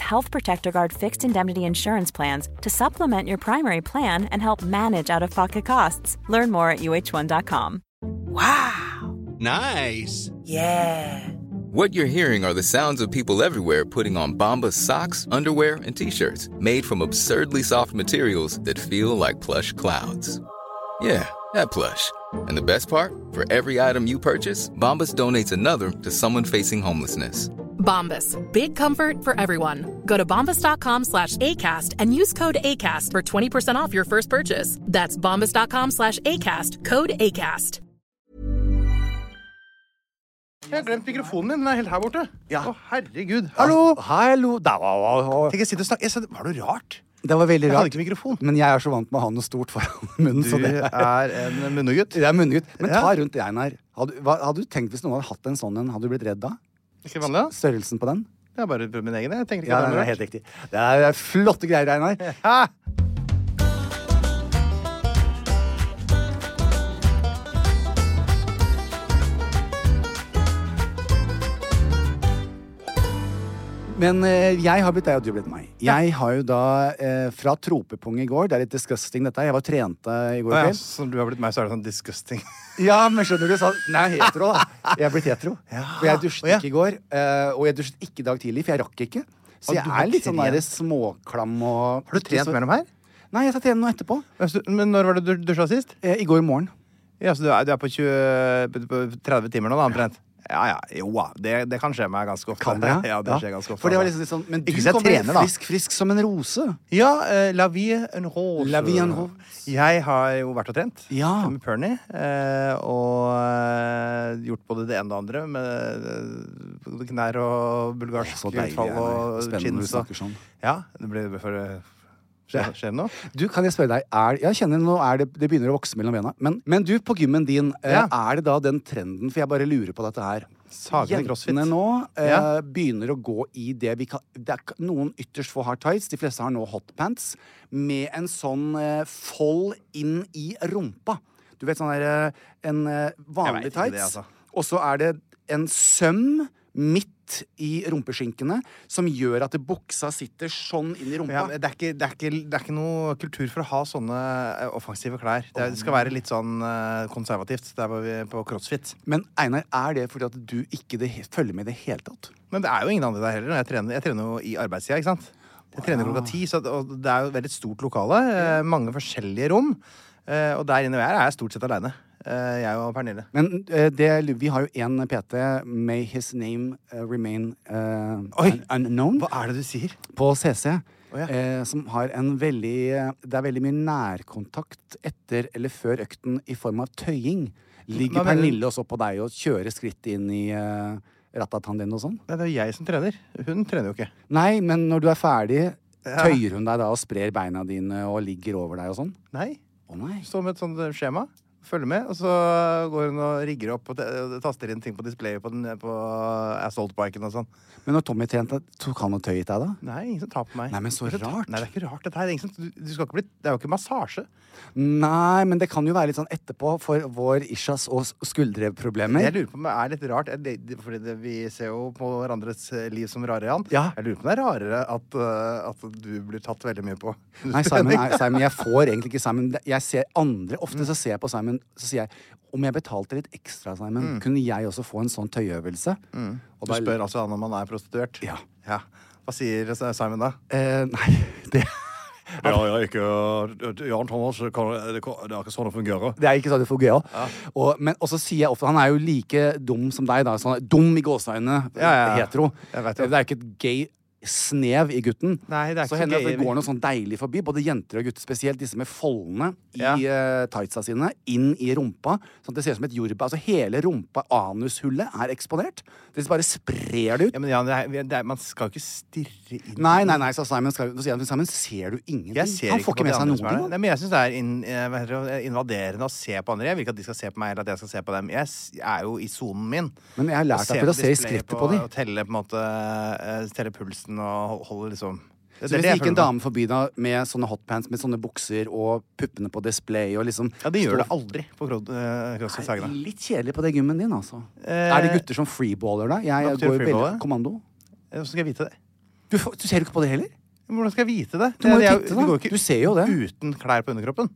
Health Protector Guard fixed indemnity insurance plans to supplement your primary plan and help manage out of pocket costs. Learn more at uh1.com. Wow. Nice. Yeah. What you're hearing are the sounds of people everywhere putting on Bombas socks, underwear, and t-shirts made from absurdly soft materials that feel like plush clouds. Yeah, that plush. And the best part? For every item you purchase, Bombas donates another to someone facing homelessness. Bombas. Big comfort for everyone. Go to bombas.com slash ACAST and use code ACAST for 20% off your first purchase. That's bombas.com slash ACAST. Code ACAST. Jeg har glemt mikrofonen din. Den er helt her borte. Ja. Å, herregud. Hallo! Hallo! Da, da, da, da. Tenk, jeg sitter og snakker. Jeg sitter- Var det rart? Det var veldig Jeg hadde rart. ikke mikrofon. Men jeg er så vant med å ha noe stort foran munnen. Du så det er en munnegutt. Jeg er munngutt. Men ta Ja. rundt Einar. Hadde, hva, hadde du tenkt hvis noen hadde hatt en sånn en, hadde du blitt redd da? Ikke vanlig, da? Størrelsen på den? Jeg har bare prøvd min egen. jeg. Jeg tenker ikke Ja, at det det er helt riktig. Det er, det er flotte greier, Einar. Hæ? Men eh, jeg har blitt deg, og du har blitt meg. Jeg har jo da eh, fra tropepung i går Det er litt disgusting, dette. her. Jeg var trente i går Å, ja. kveld. Som du har blitt meg, så er det sånn disgusting. Ja, men skjønner du? Sånn, nei, hetero, da. Jeg er blitt hetero. For jeg dusjet Å, ja. ikke i går. eh, Og jeg dusjet ikke i dag tidlig, for jeg rakk ikke. Så Å, jeg du har er litt sånn trent. der småklam og Har du trent mellom her? Nei, jeg skal trene nå etterpå. Men så- Men når var det Altså, du dusja sist? Eh, I går morgen. Ja, så du er, du er på, 20, på 30 timer nå, da, omtrent? Ja, ja. Jo da. Det, det kan skje meg ganske ofte. Kan det? Ja, det skjer ganske ofte. For det var altså. liksom litt sånn Men du Ikke hvis jeg kommer trener, da. frisk, frisk som en rose. Ja, eh, La vie en rose. La vie en rose. Jeg har jo vært og trent Ja. med Perny. Eh, og eh, gjort både det ene og det andre med eh, knær og bulgarsk Å, så deilig, utfall og Einar. Spennende chins når du og- snakker sånn. Ja, det blir for eh, skje- Skjer det noe? Du, kan jeg spørre deg, er, jeg kjenner nå er det, det begynner å vokse mellom bena. Men, men du, på gymmen din, eh, Ja. er det da den trenden? For jeg bare lurer på dette her. Sagene crossfit. Jentene nå eh, Ja. begynner å gå i det vi kan det er, ikke- Noen ytterst få har tights, de fleste har nå hotpants, med en sånn eh, fold inn i rumpa. Du vet sånn der eh, En eh, Jeg vet ikke vanlig det, tights. altså. Og så er det en søm midt i rumpeskinkene som gjør at buksa sitter sånn inn i rumpa. Ja, men det, er ikke, det, er ikke, det er ikke noe kultur for å ha sånne eh, offensive klær. Det, er, det skal være litt sånn eh, konservativt. Det er bare vi- på crossfit. Men Einar, er det fordi at du ikke det, he- følger med i det hele tatt? Men det er jo ingen andre der heller. Jeg trener, jeg trener jo i arbeidstida, ikke sant? Jeg trener klokka ti, så det- og det er jo et veldig stort lokale. eh, Mange forskjellige rom. eh, Og der inne jeg er, er jeg stort sett aleine. Jeg og Pernille. Men eh, det, vi har jo én PT, May his name eh, remain eh, Oi! un- unknown, Hva er det du sier? på CC. ja. eh, som har en veldig eh, Det er veldig mye nærkontakt etter eller før økten i form av tøying. Ligger Hva mener du? Pernille også på deg og kjører skritt inn i eh, rattatannen din og sånn? Nei, Det er jo jeg som trener. Hun trener jo ikke. Nei, men når du er ferdig, tøyer hun deg da og sprer beina dine og ligger over deg og sånn? Nei. Å nei. Står med et sånt eh, skjema. Følger med, og så går hun og rigger opp og te- taster inn ting på displayet på, den, på assault-biken og sånn. Men når Tommy trente, tok han og tøyet deg da? Nei, ingen som tar på meg. Nei, men så Ingen som tar- rart. Nei, det er ikke rart. Dette her. Det er, ingen som, du, du skal ikke bli, det er jo ikke massasje. Nei, men det kan jo være litt sånn etterpå for vår Ishas og s- Jeg skuldreproblemer. lurer på om det er litt rart, er det- det- fordi det, vi ser jo på hverandres eh, liv som rare, Jan. Ja. Jeg lurer på om det er rarere at, eh, at du blir tatt veldig mye på. Nei, Simon, nei, Simon, jeg får egentlig ikke Simon. Det- Jeg ser andre, Ofte Mm. så ser jeg på Simon så sier jeg om jeg betalte litt ekstra, Simon, kunne jeg også få en sånn tøyeøvelse? Og Mm. Du da- spør altså han om han er prostituert? Ja. Hva sier Simon da? eh, Nei, det, Ja, jeg er ikke Jan Thomas, det er ikke sånn det fungerer. det er ikke sånn det fungerer. Og, men, og så sier jeg ofte Han er jo like dum som deg, da. Sånn, dum i gåseøynene, Ja, ja, ja. hetero. Jeg vet det jo. er ikke et gay snev i gutten. Nei, det er så ikke så hender det at gøy. det går noe sånn deilig forbi, både jenter og gutter spesielt, disse med foldene i Ja. eh, tightsa sine, inn i rumpa. Sånn at det ser ut som et jordbær. Altså hele rumpa, anushullet, er eksponert. Det bare sprer det ut. Ja, men Jan, det er, det er, man skal jo ikke stirre inn Nei, nei, nei, sa Simon. Skal, så sier han, Simon, ser du ingenting? Jeg ser han får på ikke de med seg andre noen som er der. ting. Nei, men jeg syns det er inn, eh, hva heter det, invaderende å se på andre. Jeg vil ikke at de skal se på meg, eller at jeg skal se på dem. Jeg s- jeg er jo i sonen min. Men jeg har lært Og deg for å på se i display skrittet på de. Og telle, på en måte, eh, telle pulsen og hol- holde liksom Så Det er hvis det det jeg gikk en føler med. dame forbi da med sånne hotpants med sånne bukser og puppene på display og liksom Ja, det gjør stå- det aldri på Cro- eh, CrossFit Nei, Sagene. Litt kjedelig på det gymmen din, altså. er det gutter som freeballer da? Jeg, Eh, Nok til går jo veldig freeballer? kommando. Eh, Hvordan skal jeg vite det? Du, får- du ser jo ikke på det heller. Hvordan skal jeg vite det? Du må jo Det er- titte, det da. går ikke Du ser jo det. Uten klær på underkroppen.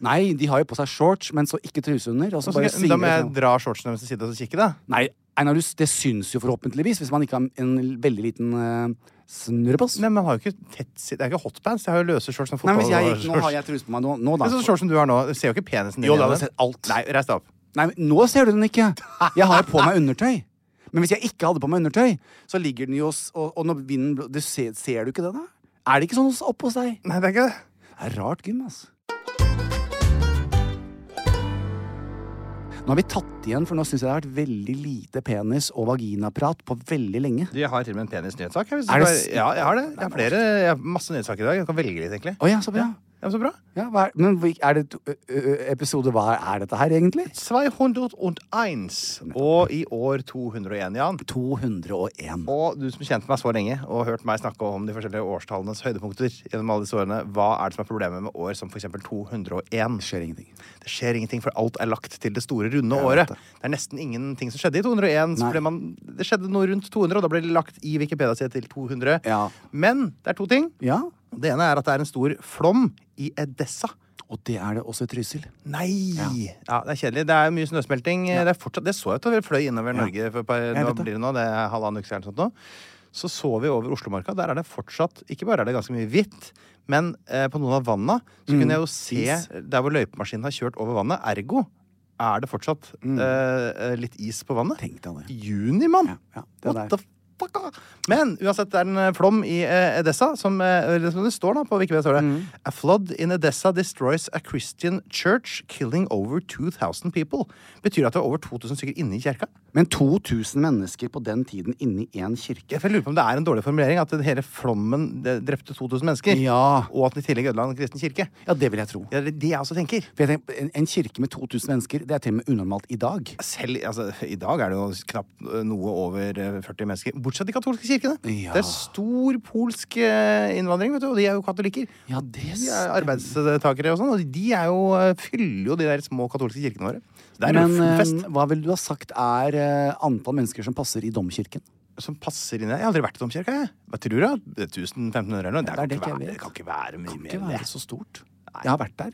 Nei, de har jo på seg shorts, men så ikke truse under. Og så Hvordan bare skal, da må svinger jeg det sånn. dra shortsene deres til side og så kikke, da. fram. Nei, Einar, du- det syns jo forhåpentligvis, hvis man ikke har en veldig liten uh, snurrepass. Nei, men jeg har jo ikke tett sit- Det er ikke hotpants. Jeg har jo løse shorts som Nei, men hvis jeg gikk, Nå fotballshorts. har jeg truse på meg nå. nå da. Men sånn shorts som du har nå, ser jo ikke penisen din Jo, da, gjennom jeg har den. sett alt. Nei, reis deg opp. Nei, men nå ser du den ikke. Jeg har jo på meg undertøy. Men hvis jeg ikke hadde på meg undertøy, så ligger den jo s- Og, og når vinden blå- du ser, ser du ikke det, da? Er det ikke sånn hos- oppe hos deg? Nei, det er ikke det. Det er rart gym, altså. Nå har vi tatt igjen, for nå syns jeg det har vært veldig lite penis- og vaginaprat på veldig lenge. Jeg har til og med en penisnyhetssak. jeg, hvis du Er det bare- s- Ja, jeg har det. Jeg har flere, jeg har masse nyhetssaker i dag. Jeg kan velge litt, egentlig. Å ja, så bra. Ja, men så bra. Ja, hva er, men hvi- er det to- ø- ø- episode Hva er dette her, egentlig? 201. Og i år 201, Jan. 201. Og du som kjente meg så lenge og hørt meg snakke om de forskjellige årstallenes høydepunkter gjennom alle disse årene, hva er det som er problemet med år som f.eks. 201? Det skjer ingenting. Det skjer ingenting, for alt er lagt til det store, runde Jeg vet året. det. Det er nesten ingenting som skjedde i 201. Så Nei. ble man, det skjedde noe rundt 200, og da ble det lagt i Wikipedia sitt til 200. Ja. Men det er to ting. Ja, Det ene er at det er en stor flom i Edessa. og det er det også i Trysil. Nei! Ja. Det er kjedelig. Det er mye snøsmelting. Det, er fortsatt, det så jeg da vi fløy innover Norge for et par, vet hva det. blir det nå, det er halvannen uke siden. eller noe sånt nå. Så så vi over Oslomarka. Der er det fortsatt Ikke bare er det ganske mye hvitt, men eh, på noen av vanna så kunne jeg jo se Mm. is. der hvor løypemaskinen har kjørt over vannet. Ergo er det fortsatt eh, litt is på vannet. Mm. Tenk deg det. Juni, mann! Ja, ja, det What der. the fuck? ah? Men uansett, det er en eh, flom i eh, Edessa, som, eh, eller som det står da på Wikipedia. står det Mm. A flood in Edessa destroys a Christian church, killing over 2000 people. Betyr det at det var over 2000 stykker inne i kjerka? Men 2000 mennesker på den tiden inni én kirke? Jeg lurer på om det er en dårlig formulering at den hele flommen eh, drepte 2000 mennesker. Ja. Og at den i tillegg ødela en kristen kirke. Ja, det vil jeg tro. Ja, det er det jeg også tenker. For jeg tenker, en, en kirke med 2000 mennesker, det er til og med unormalt i dag. Selv, altså, I dag er det jo knapt eh, noe over eh, 40 mennesker. Bortsett de katolske kirkene. Ja. Det er stor polsk eh, innvandring, vet du, og de er jo katolikker. Ja, det De er arbeidstakere og sånn, og de er jo, fyller jo de der små katolske kirkene våre. Så det er Men jo full fest eh, hva vil du ha sagt er eh, antall mennesker som passer i domkirken? som passer inn i Jeg har aldri vært i domkirka, jeg. Hva tror du? da? 1500 eller noe? Det, det er kan, det ikke ikke jeg være, vet. det kan ikke være mye Det mer enn var det. så stort. Jeg har vært der.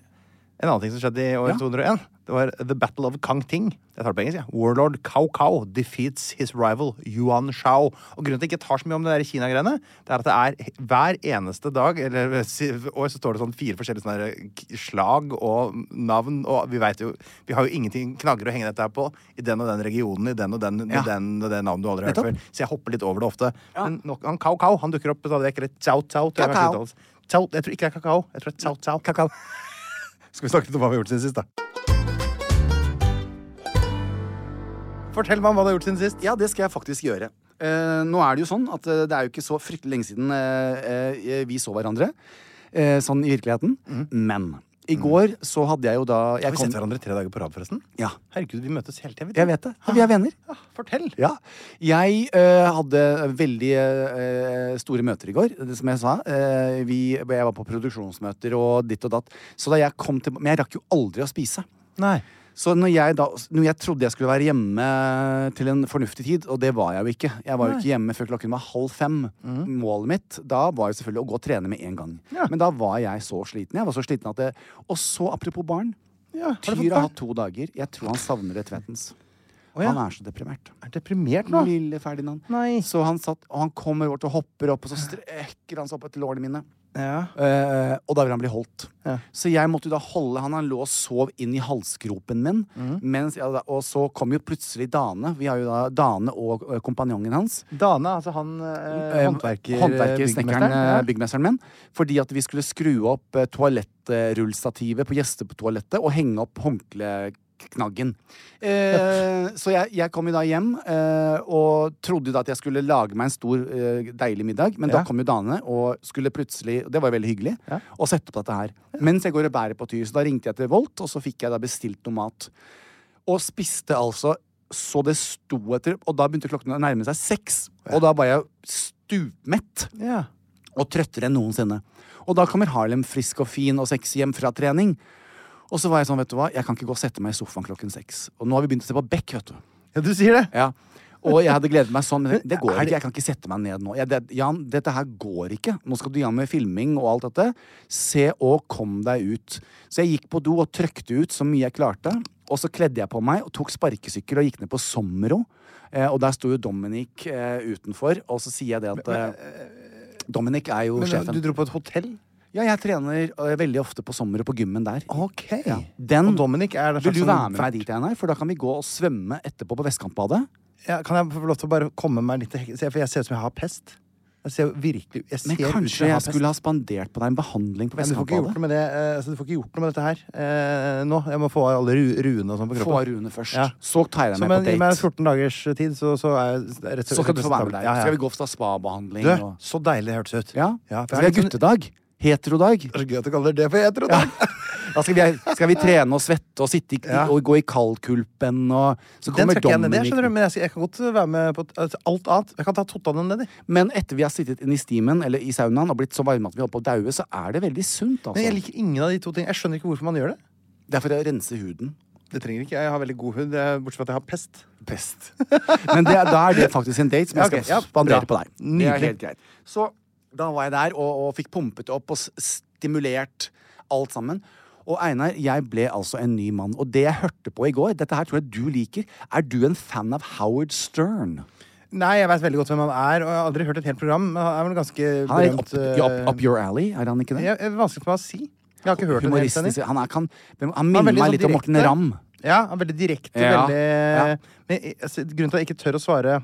En annen ting som skjedde i år Ja. 201, det var The Battle of Kangting. Jeg tar det på engelsk, jeg. Warlord Cao Cao defeats his rival Yuan Shao. Og grunnen til at jeg ikke tar så mye om det der Kina-greiene, det er at det er hver eneste dag, eller eh, si- år, så står det sånn fire forskjellige sånne der k- slag og navn, og vi veit jo Vi har jo ingenting knagger å henge dette her på i den og den regionen, i den og den, Ja. i den og det navnet du aldri har hørt Nettopp. før. Så jeg hopper litt over det ofte. Men nok, han Cao Cao han dukker opp stadig vekk, eller Cao Cao. tror jeg Cao kanskje Cao. uttales. Cao, jeg tror ikke det er kakao. Jeg tror det er Cao Cao. Kakao. Skal vi snakke litt om hva vi har gjort siden sist, da? Fortell meg om hva du har gjort siden sist. Ja, det skal jeg faktisk gjøre. Eh, nå er det jo sånn at eh, det er jo ikke så fryktelig lenge siden eh, eh, vi så hverandre. eh, sånn i virkeligheten. Men i går så hadde jeg jo da Mhm. jeg Har vi kom- sett hverandre tre dager på rad, forresten? Ja. Herregud, vi møtes hele tida. Jeg vet det. Vi er venner. Ja, Ah, fortell. Ja. Jeg eh, hadde veldig eh, store møter i går, det som jeg sa. Eh, vi, jeg var på produksjonsmøter og ditt og datt. Så da jeg kom til, men jeg rakk jo aldri å spise. Nei. Så når jeg, da, når jeg trodde jeg skulle være hjemme til en fornuftig tid, og det var jeg jo ikke Jeg var jo ikke hjemme før klokken var halv fem. Målet mitt da var jo selvfølgelig å gå og trene med en gang. Mhm. Ja. Men da var jeg så sliten. Jeg var så sliten at det, Og så, apropos barn. Ja, har du fått Tyr har barn? hatt to dager. Jeg tror han savner det tvettens. ja. Han er så deprimert. Er deprimert nå? Lille Ferdinand. Nei. Så han satt, og han kommer bort og hopper opp, og så strekker han seg opp etter lårene mine. Ja. Eh, og da vil han bli holdt. Ja. Så jeg måtte jo da holde han. Han lå og sov inn i halsgropen min. Mhm. Mens jeg, da- og så kom jo plutselig Dane. Vi har jo da Dane og eh, kompanjongen hans. Dane, altså han eh, Eh, håndverker... håndverker, byggmesteren, snekkeren, eh, ja. byggmesteren min. Fordi at vi skulle skru opp eh, toalettrullstativet på gjestetoalettet og henge opp håndkleknaggen. Eh, så jeg, jeg kom jo da hjem eh, og trodde jo da at jeg skulle lage meg en stor, eh, deilig middag. Men da Ja. kom jo Dane og skulle plutselig, og det var jo veldig hyggelig, Ja. og sette opp dette her. Mens jeg går og bærer på tyr. Så da ringte jeg til Volt, og så fikk jeg da bestilt noe mat. Og spiste altså så det sto etter, og da begynte klokken å nærme seg seks. Og da var jeg stupmett Ja. og trøttere enn noensinne. Og da kommer Harlem frisk og fin og sexy hjem fra trening. Og så var jeg sånn, vet du hva, jeg kan ikke gå og sette meg i sofaen klokken seks. Og nå har vi begynt å se på Beck, vet du. ja, du sier det. Ja. Og jeg hadde gledet meg sånn, men det går er det- ikke. Jeg kan ikke sette meg ned nå. Jeg, det, Jan, dette her går ikke. Nå skal du jammen med filming og alt dette. Se og kom deg ut. Så jeg gikk på do og trøkte ut så mye jeg klarte. Og så kledde jeg på meg og tok sparkesykkel og gikk ned på Sommero. Eh, og der sto jo Dominic eh, utenfor, og så sier jeg det at eh, Dominic er jo Men, eh, sjefen. du dro på et hotell? Ja, jeg trener eh, veldig ofte på sommeren på gymmen der. Ok. Ja. Den, Og Dominic er det Vil du slags være sånn- med meg dit, Einar? For da kan vi gå og svømme etterpå på Vestkantbadet. Ja, kan jeg få lov til å bare komme meg litt til hek- se, For jeg ser ut som jeg har pest. Jeg ser jo virkelig jeg ser Men ut som jeg kanskje jeg har pest. skulle ha spandert på deg en behandling på Men du får ikke gjort Vestkantbadet? noe med det eh, altså, Du får ikke gjort noe med dette her eh, nå. Jeg må få av alle ru ruene og sånn på Få av kroppen. Rune først. Ja. Så tar jeg Så, men deg med gi på meg date. 14 dagers tid, så, så er jeg rett og Så skal du få være med representabel. der. Ja, ja. Skal vi gå for spabehandling Du, og så deilig det hørtes ut. Ja? for jeg Skal vi sånn ha guttedag? Heterodag? Det er så gøy at du kaller det det for hetero. Ja. Ja. Da skal vi, skal vi trene og svette og sitte i, Ja. og gå i kaldkulpen og Så Den kommer skal ikke jeg ned i, Dominic skjønner du, men jeg, skal, jeg kan godt være med på t- altså, alt annet. Jeg kan ta tottene nedi. Men etter vi har sittet inne i stimen eller i saunaen og blitt så varme at vi holder på å daue, så er det veldig sunt. Men jeg Altså. liker ingen av de to tingene. Jeg skjønner ikke hvorfor man gjør det. Det er for å rense huden. Det trenger ikke jeg. Jeg har veldig god hud, eh, bortsett fra at jeg har pest. Pest. Men det, da er det faktisk en date som jeg Ja, skal ok, ja, spandere på bra. deg. Det er Nydelig. helt greit. Så da var jeg der og, og fikk pumpet opp og s- stimulert alt sammen. Og Einar, jeg ble altså en ny mann. Og det jeg hørte på i går, dette her tror jeg du liker. Er du en fan av Howard Stern? Nei, jeg veit veldig godt hvem han er, og jeg har aldri hørt et helt program. Men han er vel ganske Han er litt berømt. up, up, up your alley, er han ikke eh, det? jeg, jeg, vanskelig for meg å si. Jeg har ikke hørt en hel sending. Humoristisk. Han, er, kan, han Han er minner veldig meg sånn litt om Morten direkte. Ramm. Ja, han er veldig direkte. Ja, Veldig... ja. Men jeg- altså, grunnen til at jeg ikke tør å svare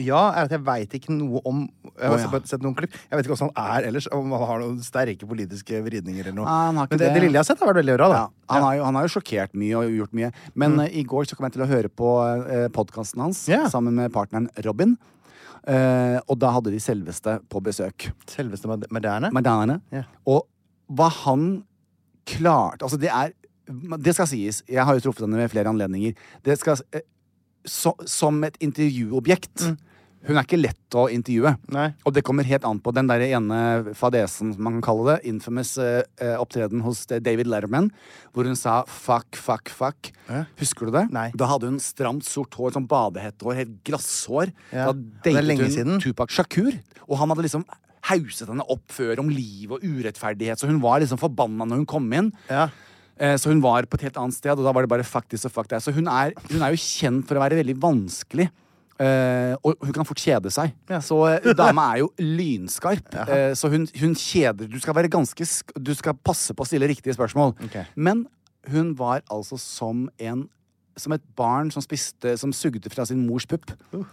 ja, er at jeg veit ikke noe om eh, Jeg har Å, ja. bare sett noen klipp. Jeg vet ikke hvordan han er ellers, om han har noen sterke politiske vridninger eller noe. Nei, han har ikke Men det, det. det. lille jeg har sett, har vært veldig bra. da Ja, han, har jo, han har jo sjokkert mye og gjort mye. Men eh, i går så kom jeg til å høre på uh, podkasten hans Mm. Ja. sammen med partneren Robin. Eh, og da hadde de selveste på besøk. Selveste mod- moderne. Madanaene. Ja. Og hva han klarte Altså, det er Det skal sies. Jeg har jo truffet henne ved flere anledninger. Det skal, eh, så, som et intervjuobjekt. Hun er ikke lett å intervjue. Mm. Nei. Og det kommer helt an på den der ene fadesen, som man kan kalle det. Infamous eh, eh, opptreden hos eh, David Letterman, hvor hun sa fuck, fuck, fuck. Husker du det? Nei. Da hadde hun stramt, sort hår, sånn badehettehår, helt glasshår. Ja. Da Det er datet lenge hun siden. Tupac Shakur, og han hadde liksom hauset henne opp før om liv og urettferdighet, så hun var liksom forbanna når hun kom inn. Ja. Eh, Så hun var på et helt annet sted, og da var det bare fuck this og fuck that. Så hun er, hun er jo kjent for å være veldig vanskelig. eh, og hun kan fort kjede seg. Så eh, dama er jo lynskarp. eh, så hun, hun kjeder Du skal være ganske sk Du skal passe på å stille riktige spørsmål. Ok. Men hun var altså som en Som et barn som spiste Som sugde fra sin mors pupp. Uh.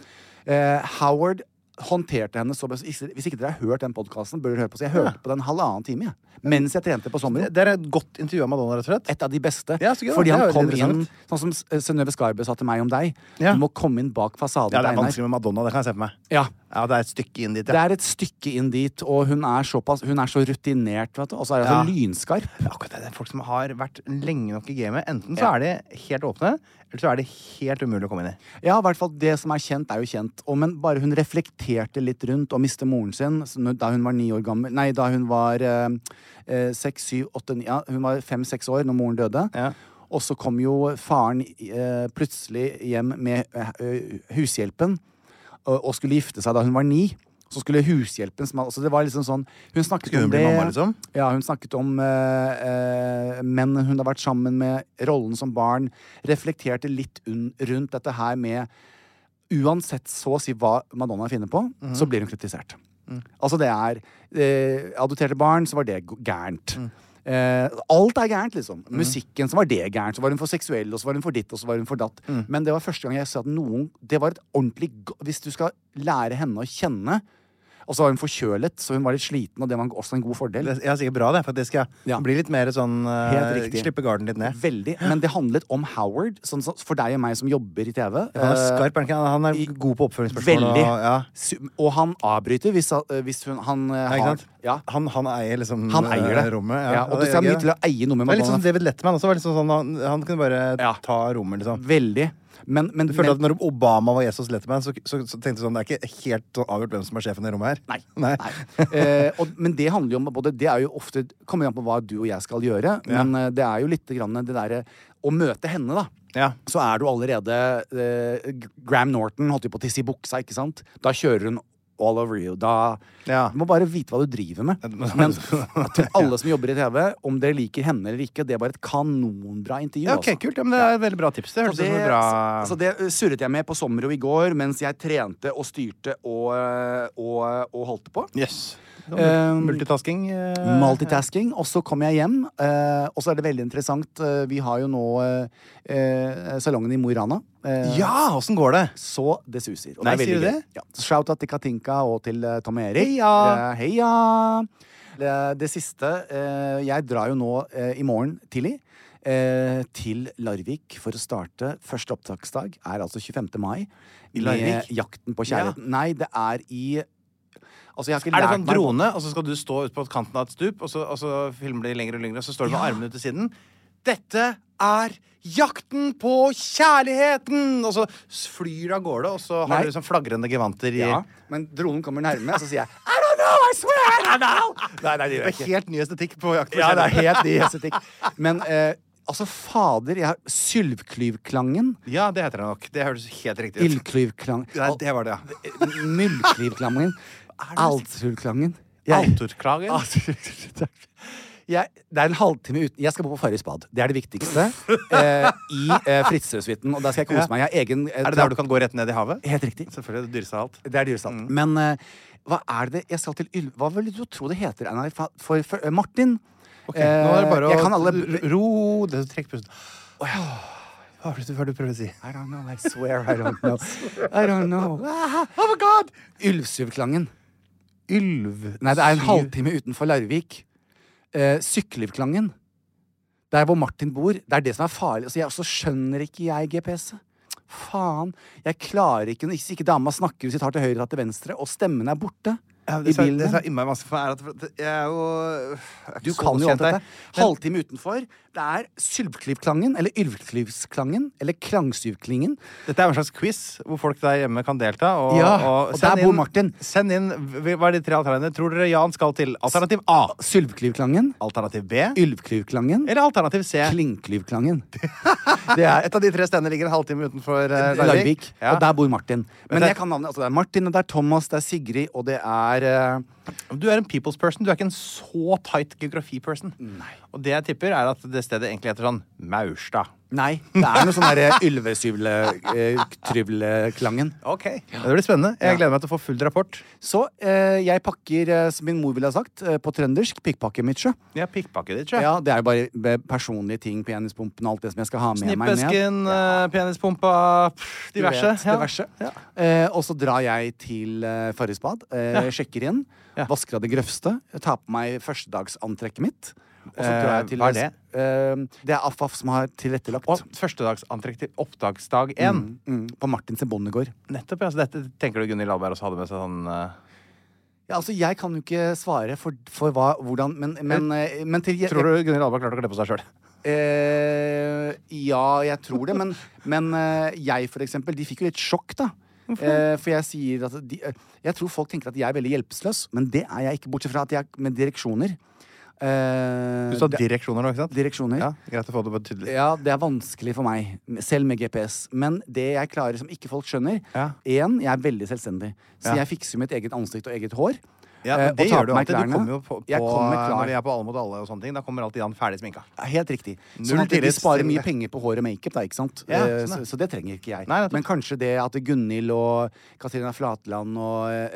Eh, Howard håndterte henne så best. Hvis ikke dere har hørt den podkasten, bør dere høre på. Så jeg hørte på den halvannen time jeg, mens jeg trente på sommeren Det det er et godt intervju av Madonna, rett og slett. et av de beste. Ja, så gøy, da. fordi Det han er jo kom inn interessant. Sånn som S- Synnøve Skarbø sa til meg om deg. Ja. Du må komme inn bak fasaden. Ja, det er Einar. vanskelig med Madonna, det kan jeg se for meg. Ja. Ja, det er et stykke inn dit, Det ja. er et stykke inn dit, og hun er, såpass, hun er så rutinert, vet du. Og så er hun Ja. så lynskarp. Akkurat det, det er folk som har vært lenge nok i gamet. Enten så er de helt åpne, eller så er de helt umulig å komme inn i. Ja, i hvert fall det som er kjent, er jo kjent. Og, men bare hun reflekterte litt rundt å miste moren sin så når- da hun var ni år gammel Nei, da hun var eh, eh, seks, syv, åtte, ni Ja, hun var fem-seks år når moren døde. Ja. Og så kom jo faren eh, plutselig hjem med eh, eh, hushjelpen og, og skulle gifte seg da hun var ni. Så skulle hushjelpen som, altså det var liksom sånn, Hun snakket Skulle hun om bli det mamma, liksom? Ja, hun snakket om eh, eh, menn hun har vært sammen med, rollen som barn. Reflekterte litt un rundt dette her med Uansett så å si hva Madonna finner på, så Mhm. blir hun kritisert. Mm. Altså det er eh, Adopterte barn, så var det g- gærent. Mm. Eh, alt er gærent, liksom. Mhm. Musikken, så var det gærent. Så var hun for seksuell, og så var hun for ditt, og så var hun for datt. Mm. Men det var første gang jeg sa at noen Det var et ordentlig go- Hvis du skal lære henne å kjenne Og så var hun forkjølet, så hun var litt sliten, og det var også en god fordel. Det er sikkert bra, det. For at det skal Ja. bli litt mer sånn eh, Helt riktig. Slippe garden litt ned. Veldig. Men det handlet om Howard, sånn, så, for deg og meg som jobber i TV. Han er Eh, skarp, er han ikke? Han er i- god på oppføringsspørsmål. Veldig. Og, ja. Su- Og han avbryter hvis, han- hvis hun, han eh, Ja, ikke har sant? ja. Han, han eier liksom Han eier det. eh, rommet. Ja, og du skal ha mye til å eie noe med Det er litt Madonna. sånn David Letterman også. Var litt sånn, sånn, han, han kunne bare Ja. ta rommet, liksom. Veldig. Men, men, Du følte men at når Obama var Jesus Letterman, så, så, så tenkte du sånn Det er ikke helt sånn avgjort hvem som er sjefen i rommet her. Nei. Eh, og, men det handler jo om både Det er jo ofte kommer jo an på hva du og jeg skal gjøre, men eh, det er jo litt grann det derre Å møte henne, da. Ja. Så er du allerede eh, G- Graham Norton holdt jo på å tisse i buksa, ikke sant? Da kjører hun all over you. Da Ja. Du må bare vite hva du driver med. må- Men til alle som jobber i TV, om dere liker henne eller ikke, det er bare et kanonbra intervju. Ja, ok, altså. kult. Ja, men det er et veldig bra tips. Det altså, Så hørtes ut som det, et bra så det eh, surret jeg med på Sommero i går mens jeg trente og styrte og, eh, og, og holdt på. Yes. Det var Um, Multitasking. eh, Multitasking. Og så kom jeg hjem, eh, og så er det veldig interessant. eh, vi har jo nå eh, eh, salongen i Mo i Rana. eh, Ja, åssen går det? Så det suser. Og Nei, det er veldig sier du gøy. det? Ja. Så Shout-out til Katinka og til eh, Tom Erik. Heia! Eh, heia! Det, det siste eh, Jeg drar jo nå eh, i morgen tidlig. eh, Til Larvik for å starte. Første opptaksdag er altså 25. mai. I Larvik? Med Jakten på kjærligheten. Nei, det er i Altså, jeg har ikke Er det lært sånn meg- drone, og så skal du stå ut på kanten av et stup, og så, og så filmer de lenger og lenger, og så står du med armene ut til siden? Dette er jakten på kjærligheten! Og så s- flyr du av gårde, og så har Nei. du liksom flagrende gevanter i Ja, men dronen kommer nærme, og så sier jeg I don't know, I swear, I don't know! Nei, nei, det Det gjør er jeg ikke. helt ny estetikk på jakt på Ja, det er kjærligheten. helt ny estetikk. Men eh, altså, fader, jeg har sylvklyvklangen. Ja, det heter det nok. Det høres helt riktig ut. Ildklyvklang. Nei, det var det, ja. Muldklyvklangen. Altsulklangen. Altorklagen? Ah, Takk. Jeg, det er en halvtime uten Jeg skal bo på Farris bad. Det er det viktigste. eh, I eh, Fritzøe-suiten. Og der skal jeg Ja. kose meg. Jeg har egen eh, Er det der du kan gå rett ned i havet? Helt riktig. Selvfølgelig. Mm. Det dyreste av alt. Det er dyrest alt. Men eh, hva er det jeg skal til Yl... Hva vil du tro det heter, Einar? For, for, for eh, Martin Ok, nå er det bare Eh, jeg å kan alle- ro det- Trekk pusten. Hva var det du- hva var det du prøvde å si? I don't know, I swear I don't know. I don't know. Ah, oh my god! Ylvsuvklangen. Ylv... Nei, det er en syv- halvtime utenfor Larvik. Eh, Syklivklangen. Der hvor Martin bor. Det er det som er farlig. Altså, jeg, så skjønner ikke jeg GPS-et. Faen. Jeg klarer ikke Hvis ikke dama snakker, hvis jeg tar til høyre, tar til venstre, og stemmen er borte Ja, i det, sa, bilen. det sa innmari vanskelig for meg. Er at, for at jeg er jo jeg er ikke Du så kan jo alt kjent her. dette. Halvtime utenfor. Det er sylvklyvklangen, eller ylvklyvsklangen, eller klangsyvklingen. Dette er jo en slags quiz hvor folk der hjemme kan delta. Og, Ja, og send der bor Martin. Send inn v- Hva er de tre alternativene? Tror dere Jan skal til alternativ A? Sylvklyvklangen, Alternativ B? ylvklyvklangen, Eller alternativ C? klingklyvklangen. Det er Et av de tre stedene ligger en halvtime utenfor eh, Larvik. Larvik. Ja. Og der bor Martin. Men det- jeg kan navnet. Altså, det er Martin, og det er Thomas, det er Sigrid, og det er eh, Du er en people's person. Du er ikke en så tight geografi-person. Og det jeg tipper, er at det stedet egentlig heter sånn Maurstad. Nei, det er noe sånn derre eh, ylvesyvletrylveklangen. Ok. Det blir spennende. Jeg gleder meg til å få full rapport. Så eh, jeg pakker, eh, som min mor ville ha sagt, eh, på trøndersk, pikkpakke mitt sjø. Jeg har pikkpakket ditt, tror jeg. Ja, det er jo bare be- personlige ting, penispumpen og alt det som jeg skal ha med meg ned. Snippesken, eh, penispumpa, pff, Du diverse. vet, diverse. Eh, og så drar jeg til eh, Farris bad, eh, sjekker inn, vasker av det grøvste, tar på meg førstedagsantrekket mitt. Og så drar Eh, jeg til hva er det? Eh, det er AFAF som har tilrettelagt. Og førstedagsantrekk til oppdagsdag én. Mm, på Martins bondegård. Nettopp, ja. Så dette tenker du Gunhild Alberg også hadde med seg sånn eh, Ja, altså, jeg kan jo ikke svare for, for hva, hvordan, men, men, eh, men til Tror du Gunhild Alberg klarte å kle på seg sjøl? Eh, ja, jeg tror det. Men, men eh, jeg, for eksempel, de fikk jo litt sjokk, da. Eh, for jeg sier at de, eh, Jeg tror folk tenker at jeg er veldig hjelpeløs, men det er jeg ikke, bortsett fra at jeg er med direksjoner. Eh, Du sa det- direksjoner nå, ikke sant? Direksjoner. Ja, greit å få det på tydelig. Eh, Ja, det er vanskelig for meg, selv med GPS. Men det jeg klarer som ikke folk skjønner Ja. Én, jeg er veldig selvstendig. Så Ja. jeg fikser jo mitt eget ansikt og eget hår. Ja, eh, men og det tar gjør du på meg alltid. klærne. Du kommer jo på, på Jeg kommer klar. Når vi er på Alle mot alle og sånne ting, da kommer alltid Jan ferdig sminka. Helt riktig. Null Sånn at de tillit sparer til mye det. penger på hår og makeup, da, ikke sant? Ja, Eh, sånn er så, så det trenger ikke jeg. Nei, nettopp. Men kanskje det at Gunhild og Katarina Flatland og eh,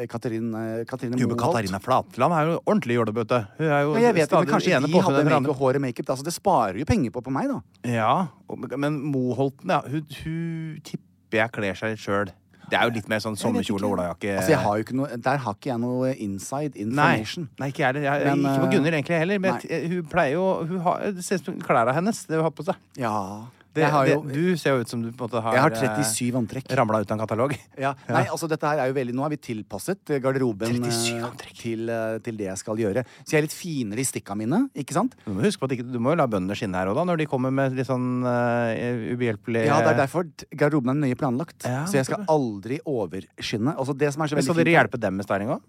eh, Katarin, eh, Katrine Jo, men Moholt Katarina Flatland er jo ordentlig jålebøtte. Hun er jo ja, jeg vet, det, stadig men Kanskje ene de påfunnet hadde etter make hår og makeup. da, Så det sparer jo penger på på meg, da. Ja, og- men Moholten, ja. Hun, hun tipper jeg kler seg litt sjøl. Det er jo litt mer sånn sommerkjole og olajakke. Altså, jeg har jo ikke noe, Der har ikke jeg noe inside Nei, information. nei, ikke jeg heller. Jeg- jeg- Men, Ikke på eh, Gunnhild egentlig heller, men nei. jeg- hun pleier jo hun har, Det ser ut som klærne hennes, det hun har på seg. Ja. Det, jeg har jo det, du eh, ser jo ut som du på en måte har Jeg har 37 antrekk. ramla ut av en katalog. Ja. Nei, altså dette her er jo veldig Nå er vi tilpasset eh, garderoben eh, 37 antrekk. til, eh, til det jeg skal gjøre. Så jeg er litt finere i stikka mine, ikke sant? Du må, huske på at ikke, du må jo la bøndene skinne her òg, da, når de kommer med litt sånn eh, ubehjelpelig Ja, det er derfor t- garderoben er nøye planlagt. Ja, så jeg skal aldri overskynde. Altså, det som er så Men veldig Skal fint dere er- hjelpe dem med styling òg?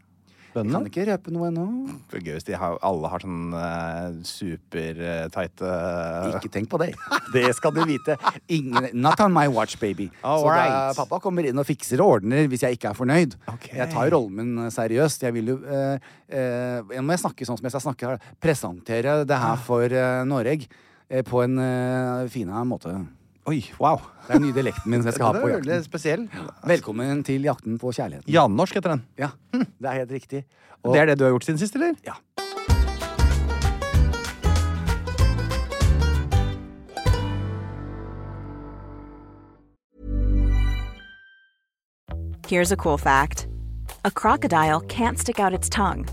Jeg kan Bøndene? ikke røpe noe ennå. Det er Gøy hvis de har, alle har sånn uh, superteite Ikke tenk på det. Det skal du vite. Ingen, not on my watch, baby. All så da, right. pappa kommer inn og fikser og ordner hvis jeg ikke er fornøyd. Ok. Jeg tar jo rollen min seriøst. Jeg vil jo eh, eh, Nå må jeg snakke sånn som jeg skal snakke her. Presentere det Ah. her for eh, Noreg eh, på en eh, fina måte. Oi, wow. Det er den nye dialekten min som jeg skal ha på Det er jakten. spesiell. Velkommen til Jakten på kjærligheten. Jannorsk heter den. Ja, det er helt riktig. Og- Det er det du har gjort siden sist, eller? Ja. Here's a cool fact a crocodile can't stick out its tongue.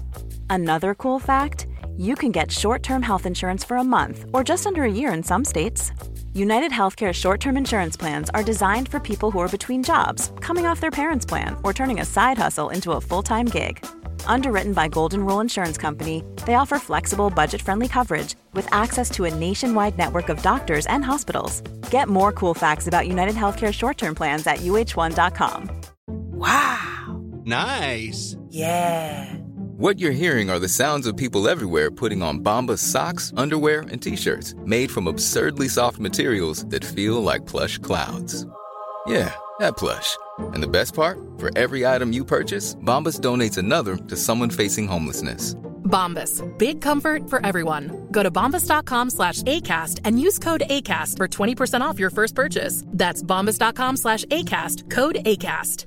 Another cool fact you can get short term health insurance for a month or just under a year in some states. United Healthcare short term insurance plans are designed for people who are between jobs, coming off their parents' plan, or turning a side hustle into a full time gig. Underwritten by Golden Rule Insurance Company, they offer flexible, budget friendly coverage with access to a nationwide network of doctors and hospitals. Get more cool facts about United Healthcare short term plans at uh1.com. Wow. Nice. Yeah. What you're hearing are the sounds of people everywhere putting on Bombas socks, underwear, and t-shirts made from absurdly soft materials that feel like plush clouds. Yeah, that plush. And the best part? For every item you purchase, Bombas donates another to someone facing homelessness. Bombas. Big comfort for everyone. Go to bombas.com slash ACAST and use code ACAST for 20% off your first purchase. That's bombas.com slash ACAST, code ACAST.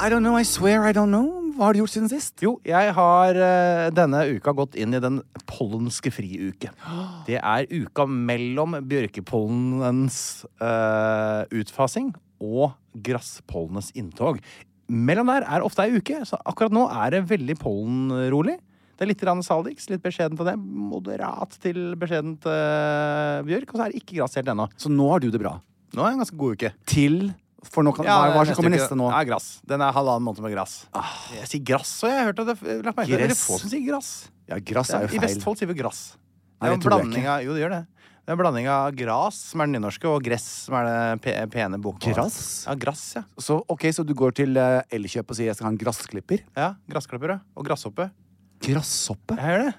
I don't know, I swear I don't know. Hva har du gjort siden sist? Jo, jeg har eh, denne uka gått inn i den pollenske friuke. Det er uka mellom bjørkepollenens eh, utfasing og gasspollenes inntog. Mellom der er ofte ei uke, så akkurat nå er det veldig pollenrolig. Det er litt grann salix, litt beskjedent av det. Moderat til beskjedent eh, bjørk. Og så er det ikke grass helt ennå. Så nå har du det bra. Nå er det en ganske god uke. Til For nå kan, hva, hva som kommer neste nå? Ah. Ja, grass. Den er halvannen måned med grass. Jeg sier grass, og jeg har hørt at det, lagt merke til at det er veldig Gress. få som sier grass. Ja, grass er jo I feil. Vestfold sier vi grass. Det Nei, er det en tror jeg blanding av, jo, det gjør det. Det er en blanding av gras, som er det nynorske, og gress, som er det pe pene bokmålet. Grass? Ja, grass, ja. Så ok, så du går til eh, Elkjøp og sier jeg skal ha en gressklipper? ja Gressklipper, ja. Og gresshoppe. Grasshoppe? Jeg gjør det.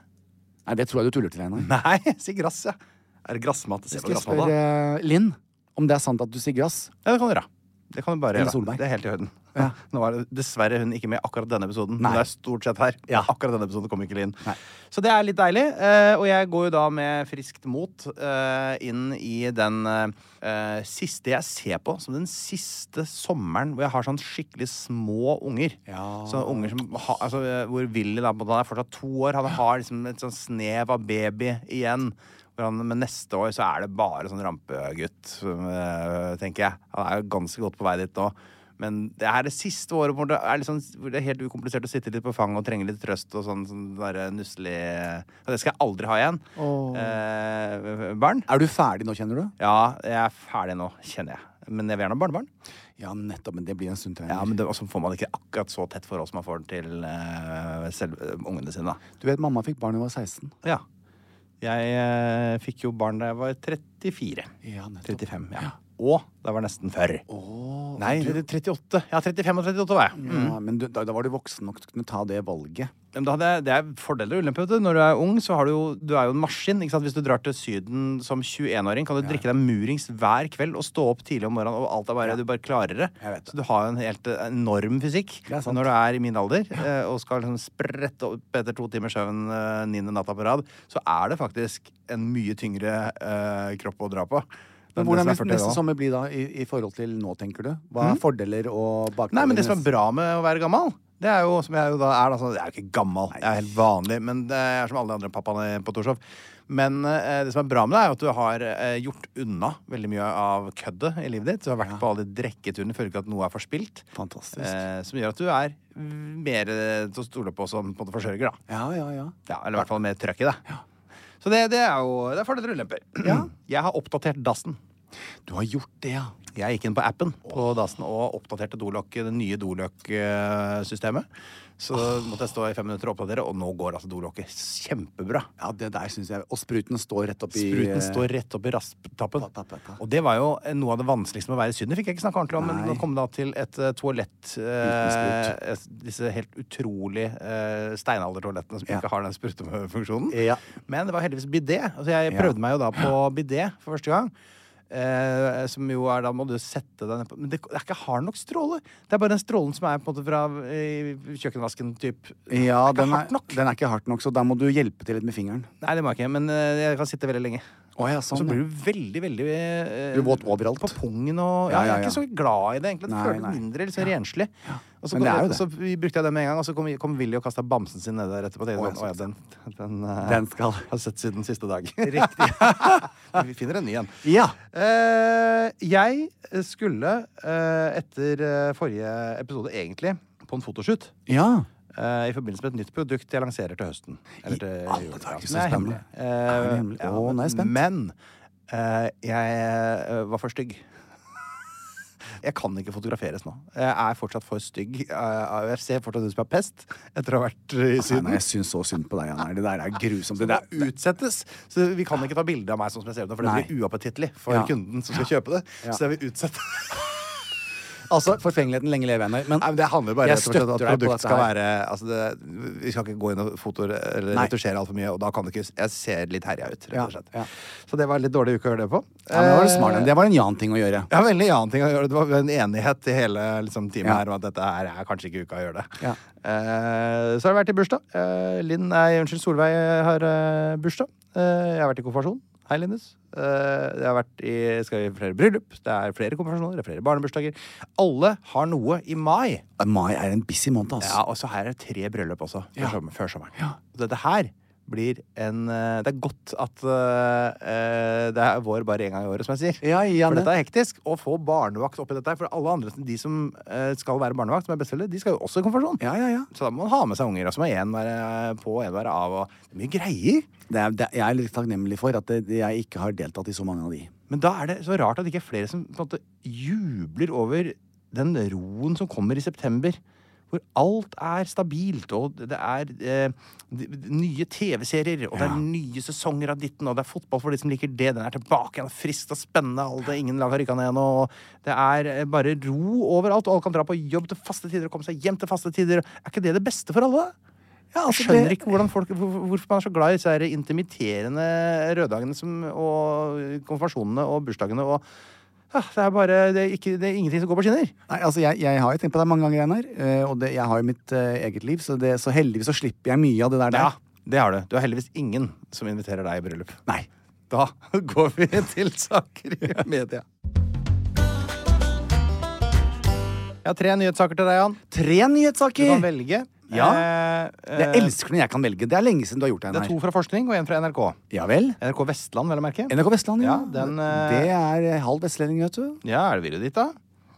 Nei, det tror jeg du tuller til, Einar. Nei, jeg sier grass, ja. Er det grassmat? Se på Skal jeg grassmat, da. spørre eh, Linn om det er sant at du sier grass? Ja, det kan du gjøre. Det kan du bare Eller gjøre. Solberg. Det er helt i orden. Nå er det dessverre hun ikke med i akkurat denne episoden. Nei. Men det er stort sett her. Ja. Akkurat denne episoden kom ikke inn. Nei. Så det er litt deilig. eh, Og jeg går jo da med friskt mot eh, inn i den eh, siste jeg ser på som den siste sommeren hvor jeg har sånn skikkelig små unger. Ja. Så unger som ha, altså, eh, Hvor Willy da, på en måte, han er fortsatt to år. Han har liksom et sånn snev av baby igjen. Og For han, men neste år så er det bare sånn rampegutt, som, eh, tenker jeg. Han er jo ganske godt på vei dit nå. Men det er det siste året hvor det er, litt sånn- hvor det er helt ukomplisert å sitte litt på fanget og trenge litt trøst og sånn, sånn derre nusselig Og det skal jeg aldri ha igjen. Eh, barn. Er du ferdig nå, kjenner du? Ja, jeg er ferdig nå, kjenner jeg. Men jeg vil gjerne ha barnebarn. Ja, nettopp. Men det blir en stund til. Ja, men det, også får man det ikke akkurat så tett forhold som man får det til eh, selv, eh, ungene sine. da. Du vet, mamma fikk barn da hun var 16. Ja. Jeg eh, fikk jo barn da jeg var 34. Ja, nettopp. 35, ja. Og da var jeg nesten 40. Nei, du- 38. Ja, 35 og 38 var jeg. Ja, men du, da, da var du voksen nok til å kunne ta det valget. Men Da hadde jeg, det er fordeler og ulemper. vet du. Når du er ung, så har du jo, du er jo en maskin. Ikke sant? Hvis du drar til Syden som 21-åring, kan du drikke deg murings hver kveld og stå opp tidlig om morgenen, og alt er bare, du bare klarer det. Jeg vet det. Så du har jo en helt eh, enorm fysikk er sant. når du er i min alder eh, og skal liksom sprette opp etter to timers søvn eh, niende natta på rad. Så er det faktisk en mye tyngre eh, kropp å dra på. Men enn det Hvordan som er 40 år gammel. vil neste sommer bli da, Mm. i, i forhold til nå, tenker du? Hva er fordeler og bakdeler? Nei, men det som er neste- bra med å være gammel det er jo som jeg jo da er, da, sånn- jeg er jo ikke gammel, jeg er helt vanlig, men det er som alle de andre pappaene på Torshov. Men eh, det som er bra med det, er jo at du har eh, gjort unna veldig mye av køddet i livet ditt. Du har vært på alle de drekketurene, føler ikke at noe er forspilt. Fantastisk. Eh, som gjør at du er mm, mer eh, til å stole på som på en måte forsørger, da. Ja, ja, ja. Ja, eller i hvert fall mer trøkk i det. Så det, det er jo det er fordeler og ulemper. Jeg har oppdatert dassen. Du har gjort det, ja. Jeg gikk inn på appen på dassen og oppdaterte dolokk, det nye dolokk-systemet. Så måtte jeg stå i fem minutter og oppdatere, og nå går altså dolokket kjempebra. Ja, det der synes jeg Og spruten står rett eh, oppi Spruten står rett oppi rasptappen. Tapp, tapp, tapp. Og det var jo eh, noe av det vanskeligste med å være i Syden. Det fikk jeg ikke snakka ordentlig om, men Nei. nå kom det da til et eh, toalett eh, Uten et- Disse helt utrolig eh, steinaldertoalettene som Ja. ikke har den sprutefunksjonen. Ja. Men det var heldigvis bidé. Altså, jeg Ja. prøvde meg jo da på bidé for første gang. Eh, som jo er da må du sette deg nedpå Men det er ikke hard nok stråle. Det er bare den strålen som er på en måte fra eh, kjøkkenvasken, typ. Ja, Det er ikke den hardt er, nok. den er ikke hardt nok, så da må du hjelpe til litt med fingeren. Nei, det må jeg ikke, men eh, jeg kan sitte veldig lenge. Å ja, Og så sånn. blir ja. du veldig, veldig eh, Blir våt overalt. På pungen og Ja, ja, ja, Jeg er ja. ikke så glad i det, egentlig. Nei, Jeg føler det nei. mindre liksom, renslig. Og så, Men det er jo og så brukte jeg det med en gang, og så kom, kom Willy og kasta bamsen sin ned der etterpå. Og Å, jeg ja, sånn, å, ja, den, den, eh, Den skal. Har sett siden siste dag. Riktig. Vi finner en ny en. Ja. Eh, jeg skulle eh, etter eh, forrige episode, egentlig, på en fotoshoot. ja. eh, I forbindelse med et nytt produkt jeg lanserer til høsten. Eller til alle jul, ja. dager, så Det er spennende. hemmelig. Eh, Er det hemmelig? ja, Å, nå er jeg spent. Men eh, jeg eh, var for stygg. Jeg kan ikke fotograferes nå. Jeg er fortsatt for stygg. Eh, jeg ser fortsatt ut som jeg har pest etter å ha vært i Nei, Syden. nei, jeg syns så synd på deg, Jan. Einar. Det der er grusomt. Det Det der må utsettes. Så vi kan ikke ta bilde av meg sånn som jeg ser ut nå, for Nei. det blir uappetittlig for Ja. kunden som skal kjøpe det. Ja. Så jeg vil utsette. Altså, forfengeligheten lenge leve, Einar. Men, Nei, men det handler bare rett jeg og slett støtter om deg at på produkt dette skal her. være altså det, Vi skal ikke gå inn og fotor, eller Nei. retusjere altfor mye, og da kan det ikke Jeg ser litt herja ut, rett Ja, og slett. ja. Så det var en litt dårlig uke å gjøre det på. Eh, Ja, men det var det smart. Det var en Jan-ting å gjøre. Ja, veldig annen ting å gjøre. Det var en enighet i hele liksom, teamet Ja. her om at dette her er kanskje ikke uka å gjøre det. Ja. Eh, så har det vært i bursdag. Eh, Linn, nei, unnskyld, Solveig har eh, bursdag. Eh, jeg har vært i konfirmasjon. Hei, Linnes. Eh, jeg har vært i, skal i flere bryllup. Det er flere konfirmasjoner, det er flere barnebursdager. Alle har noe i mai. Mai er en busy måned, Ja, altså. og så her er det tre bryllup også, før, Ja. sommer, før sommeren. Ja. Og Dette her blir en eh, Det er godt at eh, eh, det er vår bare én gang i året, som jeg sier. Ja, ja, for men- dette er hektisk. Å få barnevakt oppi dette her. For alle andre, de som eh, skal være barnevakt, som er besteforeldre, de skal jo også i konfirmasjon. Ja, ja, ja. Så da må man ha med seg unger, og så må én være eh, på og én være av. Og det er mye greier. Det er, det, jeg er litt takknemlig for at det, eh, jeg ikke har deltatt i så mange av de. Men da er det så rart at det ikke er flere som på en måte jubler over den roen som kommer i september. Hvor alt er stabilt, og det er eh, d- d- nye TV-serier, og det er nye sesonger av ditten, og det er fotball for de som liker det. Den er tilbake igjen, friskt og spennende. Alt det ingen lag har rykka ned ennå. og Det er eh, bare ro overalt, og alle kan dra på jobb til faste tider og komme seg hjem til faste tider. Er ikke det det beste for alle? Ja, Jeg skjønner ikke hvordan folk, hvor- hvorfor man er så glad i disse her intimiterende røddagene som, og konfirmasjonene og bursdagene og ah, Det er bare det er, ikke, det er ingenting som går på skinner. Nei, altså jeg, jeg har jo tenkt på deg mange ganger, Einar. eh, Og det, jeg har jo mitt eh, eget liv, så, det, så heldigvis så slipper jeg mye av det der. der. det har du. Du har heldigvis ingen som inviterer deg i bryllup. Nei. Da går vi til saker i media. Jeg har tre nyhetssaker til deg, Jan. Tre Du kan nyhetssaker! velge. Ja. Eh, eh, Jeg elsker når jeg kan velge. Det er lenge siden du har gjort det, det er to Einar. fra forskning og én fra NRK. Ja vel? NRK Vestland, vel å merke. NRK Vestland, ja. Ja, den, eh, Det er eh, halv vestlending, vet du. Ja, er det videre ditt, da?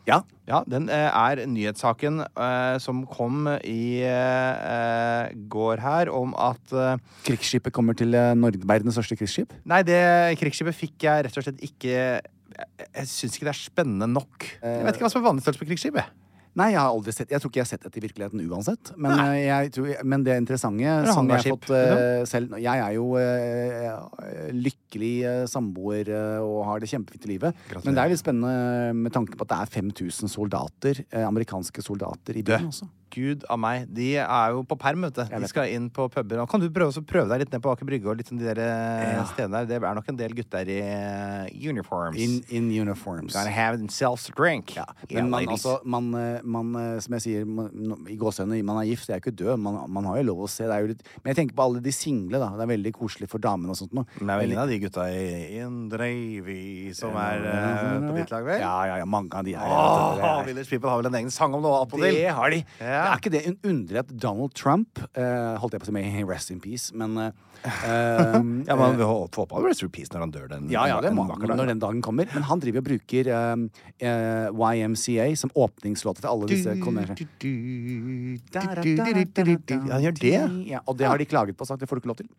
Ja. Ja, den eh, er nyhetssaken eh, som kom i eh, eh, går her, om at eh, Krigsskipet kommer til eh, Norge, verdens største krigsskip. Nei, det krigsskipet fikk jeg rett og slett ikke Jeg, jeg syns ikke det er spennende nok. Jeg vet ikke hva som er vanlig størrelse på krigsskip. jeg. Nei, jeg har aldri sett Jeg tror ikke jeg har sett dette i virkeligheten uansett. Men, eh, jeg tror, men det det interessante som jeg har hangarskip, fått eh, selv Jeg er jo eh, lykkelig eh, samboer eh, og har det kjempefint i livet. Men det er litt spennende med tanke på at det er 5000 soldater, eh, amerikanske soldater i byen også. Gud av meg. De er jo på perm, vet du. De skal inn på puber. Nå kan du prøve, også prøve deg litt ned på Aker Brygge og litt sånn de der eh, stedene der. Det er nok en del gutter i eh, uniforms. In, in uniforms. Gotta have themselves a drink. Ja, Yeah, men man, ladies. altså, man, eh, man, eh, som jeg sier, man, no- i gåsehudene, man er gift, jeg er ikke død, man, man har jo lov å se. Det er jo litt, men jeg tenker på alle de single, da. Det er veldig koselig for damene og sånt noe. Men det er vel ingen Veldig- av de gutta i Indreivi som er eh, på ditt lag, vel? Ja, ja, ja, mange av de her. Åh, vet du, det er- Village People har vel en egen sang om noe attpåtil? det har de! Ja. Er ikke det en underlig at Donald Trump eh, Holdt jeg på å si med Rest in Peace, men eh, eh, Ja, man vil ho- få opp Rest in Peace når han dør den Ja, ja, det en må vakker han dag. når den dagen kommer. Men han driver og bruker eh, eh, YMCA som åpningslåt til alle disse konvensjonene. Ja, Han gjør det? Ja, og det har de klaget på og sagt det får du ikke lov til.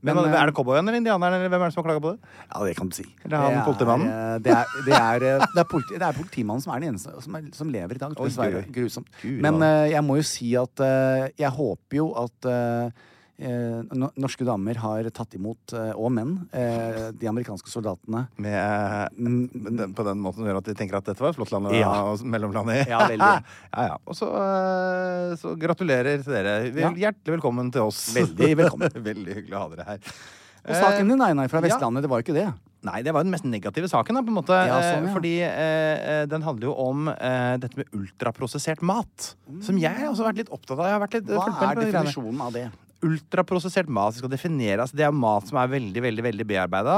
Men, Men, er det cowboyen eller indianeren eller hvem er det som har klaga på det? Ja, det kan du si. Eller han Det er, politimannen? eh, Det er, det, er, eh, det, er politi, det er politimannen som er den eneste som, er, som lever i dag. Oi, Dessverre. gud. Grusomt. Gud, Men ja. eh, jeg må jo si at eh, jeg håper jo at eh, eh, no- norske damer har tatt imot, eh, og menn, eh, de amerikanske soldatene. Med, eh, den, på den måten som gjør at de tenker at dette var et flott land å Ja. å mellomlande i. Ja, veldig. ja, ja. Og så, eh, så gratulerer til dere. Vel, Ja. Hjertelig velkommen til oss. Veldig velkommen. veldig hyggelig å ha dere her. Og saken din, Einar, fra ja. Vestlandet, det var jo ikke det. Nei, det var den mest negative saken, da, på en måte. Ja, Eh, sånn, ja. Fordi eh, eh, den handler jo om eh, dette med ultraprosessert mat. Som jeg har også vært litt opptatt av. Jeg har vært litt, Mm. Hva fulgt med er på de greiene. definisjonen av det? ultraprosessert mat skal defineres. Altså, Det er mat som er veldig veldig, veldig bearbeida.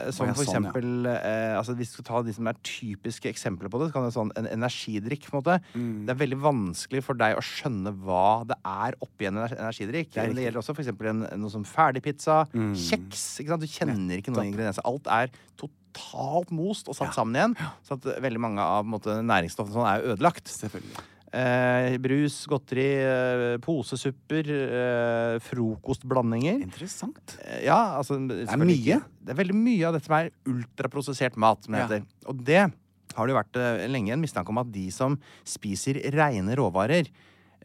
Eh, som Å, ja, for sånn, ja. eksempel eh, altså Hvis du skal ta de som er typiske eksempler på det, så kan det være sånn en energidrikk. på en måte. Mm. Det er veldig vanskelig for deg å skjønne hva det er oppi en ener- energidrikk. Det, det gjelder også for eksempel en, noe som ferdigpizza, Mm. kjeks. ikke sant? Du kjenner ikke noen ingredienser. Alt er totalt most og satt sammen igjen. Så at eh, veldig mange av på en måte, næringsstoffene sånn er jo ødelagt. Eh, brus, godteri, eh, posesupper, eh, frokostblandinger. Interessant. Eh, Ja, altså Det mye. Det er veldig mye av dette som er ultraprosessert mat, som det Ja. heter. Og det har det jo vært eh, lenge en mistanke om at de som spiser reine råvarer,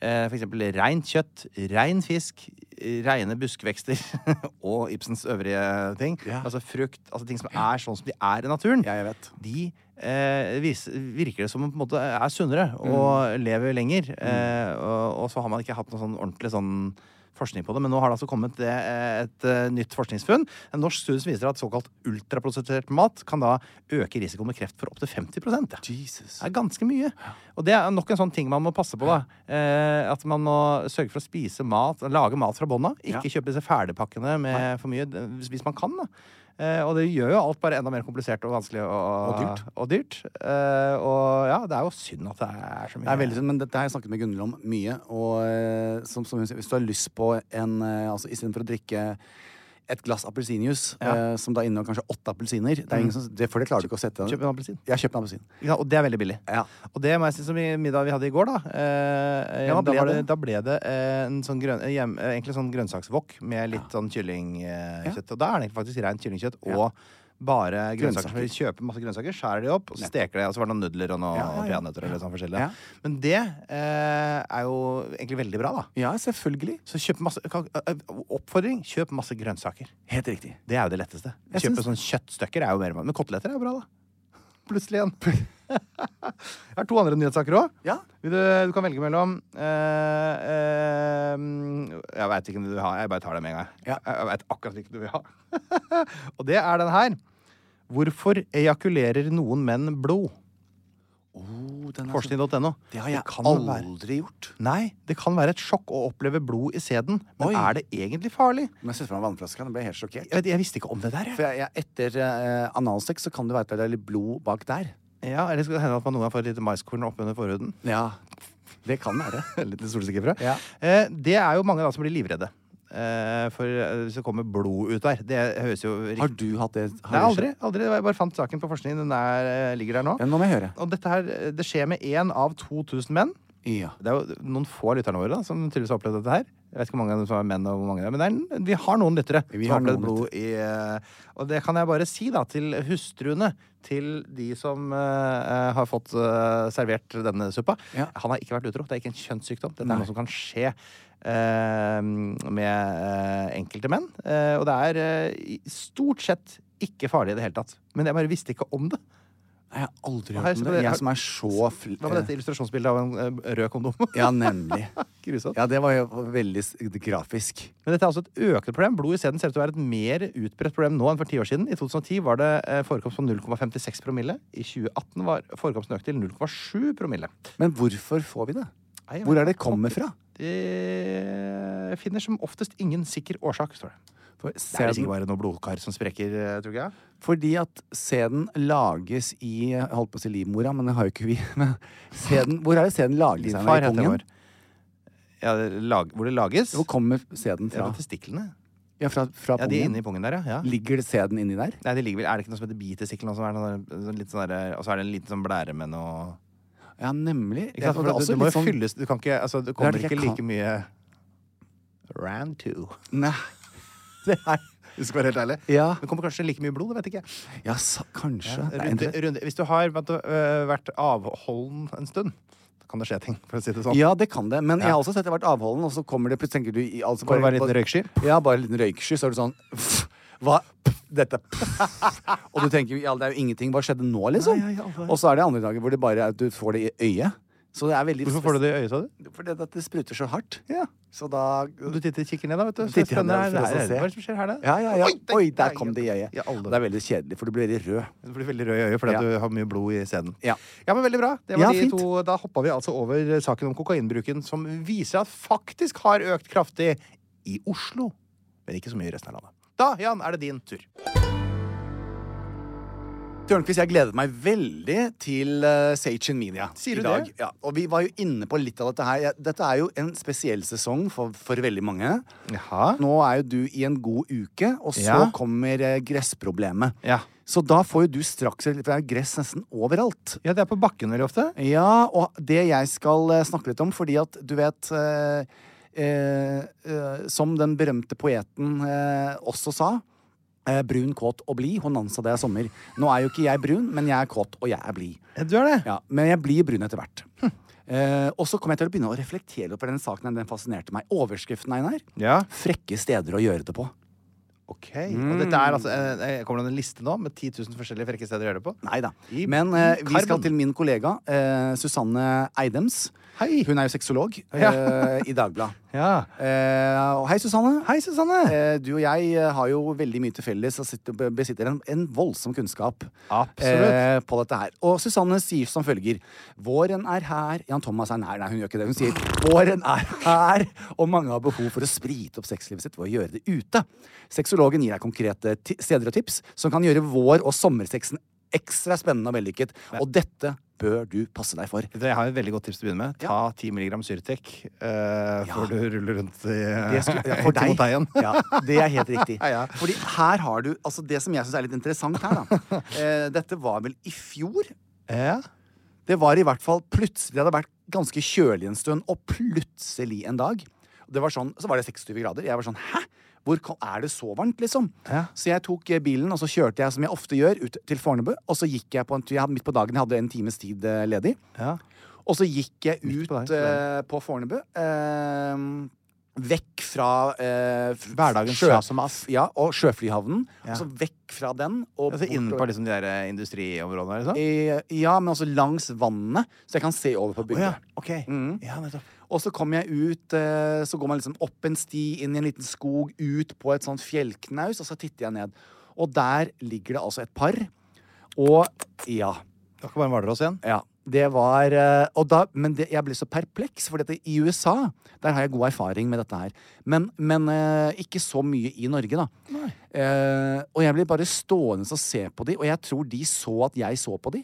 eh, for eksempel reint kjøtt, rein fisk, eh, reine buskvekster og Ibsens øvrige ting, Ja. altså frukt, altså ting som er sånn som de er i naturen, Ja, jeg vet. de eh, vis, virker det som om på en måte er sunnere og lever lenger. Eh, og, og så har man ikke hatt noe sånn ordentlig sånn forskning på det, men nå har det altså kommet det, eh, et eh, nytt forskningsfunn. En norsk studie som viser at såkalt ultraprosessert mat kan da øke risikoen med kreft for opptil 50 ja. Jesus. Det er ganske mye. Og det er nok en sånn ting man må passe på. da. Eh, at man må sørge for å spise mat, lage mat fra bånn av. Ikke kjøpe disse ferdigpakkene med for mye, d- hvis man kan. da. Eh, og det gjør jo alt bare enda mer komplisert og vanskelig og, Og dyrt. Og, dyrt. Eh, og ja, det er jo synd at det er så mye. Det er veldig synd, men dette har jeg snakket med Gunhild om mye. Og eh, som, som hun sier, hvis du har lyst på en eh, altså, Istedenfor å drikke et glass appelsinjuice, eh, som da inneholder kanskje åtte appelsiner det er ingen som, det, For det klarer du ikke å sette Kjøp en appelsin. Ja, Mm. kjøp en appelsin. Ja, og det er veldig billig. Ja. Og det må jeg si som i middag vi hadde i går, da. Eh, Ja, hva da, ble var det, det? da ble det eh, en sånn grønn, eh, hjem, eh, egentlig sånn grønnsakswok med litt sånn kyllingkjøtt. Ja. Eh, kjøtt. Og da er det egentlig faktisk rent kyllingkjøtt og bare grønnsaker. For de kjøper masse grønnsaker, skjærer de opp, og så steker de. Og så var det noen nudler og noen Ja, ja, ja. peanøtter og litt sånn forskjellig. Ja. Men det eh, er jo egentlig veldig bra, da. Ja, selvfølgelig. Så kjøp masse kan- eh, eh, Oppfordring kjøp masse grønnsaker. Helt riktig. Det er jo det letteste. Jeg Kjøpe syns- sånn kjøttstykker er jo mer Men koteletter er jo bra, da. Plutselig igjen. Jeg har to andre nyhetssaker òg. Ja. Du, du kan velge mellom eh, eh, Jeg veit ikke om du vil ha. Jeg bare tar det med en gang. Ja. Jeg, jeg veit akkurat hvilken du vil ha. Og det er den her. Hvorfor ejakulerer noen menn blod? Oh, den er så- Forskning.no. det har jeg kan være- aldri gjort. Nei, det kan være et sjokk å oppleve blod i sæden. Men Oi. er det egentlig farlig? Men jeg setter fra meg vannflaska. Nå ble jeg helt sjokkert. Jeg, vet, jeg visste ikke om det der. For Jeg. jeg, jeg, etter eh, analsex så kan det være at det er litt blod bak der. Ja, Eller skal det hende at man noen gang får et lite maiskorn oppunder forhuden? Ja. Det kan være. Litt solsikker fra. Ja. Eh, det er jo mange da som blir livredde. Eh, for eh, hvis det kommer blod ut der. Det høres jo Har riktig du hatt det? Har Nei, det aldri. skjedd? aldri. Jeg bare fant saken på forskning. Den er, eh, ligger der nå. Ja, nå må jeg høre. Og dette her, eh, det skjer med én av 2000 menn. Ja. Det er jo noen få av lytterne våre da, som tydeligvis har opplevd dette her. Jeg vet ikke hvor mange av dem som er menn, og hvor mange det er, men det er, vi har noen lyttere Vi som har har opplevd noen blod i eh, Og det kan jeg bare si da, til hustruene til de som eh, har fått eh, servert denne suppa. Ja. Han har ikke vært utro. Det er ikke en kjønnssykdom. Dette Nei. er noe som kan skje eh, med eh, enkelte menn. Eh, og det er eh, i- stort sett ikke farlig i det hele tatt. Men jeg bare visste ikke om det. Nei, jeg har aldri Her hørt om skal det. det- Jeg som er så fl Hva med dette illustrasjonsbildet av en eh, rød kondom? Ja, nemlig. Grusomt. Ja, det var jo veldig s- grafisk. Men dette er altså et økende problem. Blod i sæden ser ut til å være et mer utbredt problem nå enn for ti år siden. I 2010 var det eh, forekomst på 0,56 promille. I 2018 var forekomsten økt til 0,7 promille. Men hvorfor får vi det? Nei, jeg Hvor vet er det kommer fra? Det finner som oftest ingen sikker årsak, står det. For Det er vel sæden, sikkert bare noe blodkar som sprekker, eh, tror jeg. fordi at sæden lages i Jeg holdt på å si livmora, men det har jo ikke vi. Men sæden, hvor er det sæden lages? Din Einar, far i heter pungen? Vår. Ja, det lag, hvor det lages? Hvor kommer sæden Ja, fra? på testiklene. Ja, fra, fra Ja, de er inne i pungen pungen. der, ja. ja. Ligger det sæden inni der? Nei, det ligger vel, Er det ikke noe som heter bitestikkel? Og så er det noe sånn litt sånn der- og så er det en liten sånn blære med noe Ja, nemlig. Ikke sant? Og For altså, du, du det er også må litt jo sånn- fylles Du kan ikke altså, Det kommer det ikke jeg like kan. mye Round two. Nei. Det er Du skal være helt ærlig. Ja, Det kommer kanskje like mye blod, det vet ikke jeg. ja sa, kanskje. Det er Runde, en- runde. Hvis du har vet du, øh, vært avholden en stund, da kan det skje ting, for å si det sånn. Ja, det kan det. Men jeg har også sett det har vært avholden, og så kommer det plutselig tenker du, i- altså, Kan det være en bare- liten røyksky? Ja, bare en liten røyksky, så er det sånn pff, Hva? Pff, Dette pff. Og du tenker ja, det er jo ingenting. Hva skjedde nå, liksom? Nei, ja, ja, ja. Og så er det andre dager hvor det bare er at du får det i øyet. Så det er veldig Hvorfor får du det i øyet, sa du? Fordi at det spruter så hardt. Ja. Så da Du titter, kikker ned, da. vet du. Så Titter det er spennende ned for her. å Her er det- se. Hva er det som skjer her, da? Ja, ja, ja. Oi, der- der Oi, der gikk kom det i øyet. Ja, alle. Og det er veldig kjedelig, for du blir veldig rød. Du blir veldig rød i øyet fordi Ja. du har mye blod i sæden. Ja. Ja, men veldig bra. Det var Ja, de fint. to. Da hoppa vi altså over saken om kokainbruken, som viser at faktisk har økt kraftig i Oslo. Men ikke så mye i resten av landet. Da, Jan, er det din tur. Tørnquist, jeg gledet meg veldig til uh, Sachin Media Sier du i dag. det? Ja, og vi var jo inne på litt av dette her. Jeg- Dette er jo en spesiell sesong for, for veldig mange. Jaha. Nå er jo du i en god uke, og så Ja. kommer eh, gressproblemet. Ja. Så da får jo du straks For det er gress nesten overalt. Ja, det er på bakken veldig ofte. Ja, og det jeg skal eh, snakke litt om, fordi at du vet eh, eh, eh, Som den berømte poeten eh, også sa eh, Brun, kåt og blid. Honanza, det er sommer. Nå er jo ikke jeg brun, men jeg er kåt, og jeg er blid. Du er det? Ja, men jeg blir brun etter hvert. Eh, og så kom jeg til å begynne å reflektere over den saken. her, Den fascinerte meg. Overskriften, Einar. Ja. Frekke steder å gjøre det på. Ok. Og dette er altså eh, eh, Kommer det en liste nå med 10 000 forskjellige frekke steder å gjøre det på? Nei da. I Men eh, vi skal karbon. til min kollega eh, Susanne Eidems. Hei. Hun er jo sexolog eh, Ja. i Dagbladet. Ja. Eh, og hei, Susanne. Hei, Susanne. Eh, du og jeg eh, har jo veldig mye til felles og sitter, be- besitter en, en voldsom kunnskap Absolutt. eh, på dette her. Og Susanne sier som følger Våren er her Jan Thomas er nær. Nei, hun gjør ikke det. Hun sier våren er her, og mange har behov for å sprite opp sexlivet sitt ved å gjøre det ute. Sexologen gir deg konkrete ti steder og tips som kan gjøre vår- og sommersexen ekstra spennende og vellykket. Og dette bør du passe deg for. Vet du, Jeg har et veldig godt tips til å begynne med. Ta 10 mg Syrtec eh, før du ruller rundt i Det skulle, ja, for i Timoteien. deg. Ja, det er helt riktig. Ja. Fordi her har du Altså, det som jeg syns er litt interessant her, da. Eh, dette var vel i fjor? Ja. Det var i hvert fall plutselig Det hadde vært ganske kjølig en stund, og plutselig en dag det var sånn, Så var det 26 grader. Jeg var sånn Hæ? Hvor kom, er det så varmt, liksom? Ja. Så jeg tok eh, bilen, og så kjørte jeg som jeg ofte gjør, ut til Fornebu. Og så gikk jeg på en tur. Jeg hadde- Midt på dagen jeg hadde en times tid eh, ledig. Ja. Og så gikk jeg ut Midt på dagen, på, eh, på Fornebu. Eh, Vekk fra eh, f- Hverdagens sjø- sjas og mas. Ja, og sjøflyhavnen. Ja. Altså vekk fra den. Og Altså bortover- Innenfor liksom, de der eh, industriområdene? Liksom. Eh, ja, men altså langs vannet, så jeg kan se over på Å ja. Mm. bygda. Ok. Ja, nettopp. Og så kom jeg ut, eh, så går man liksom opp en sti, inn i en liten skog, ut på et sånt fjellknaus, og så titter jeg ned. Og der ligger det altså et par. Og ja. Det var ikke bare en hvalross igjen? ja det var eh, og da, Men det, jeg ble så perpleks, for dette, i USA der har jeg god erfaring med dette her. Men, men eh, ikke så mye i Norge, da. Eh, og jeg ble bare stående og se på de, og jeg tror de så at jeg så på de.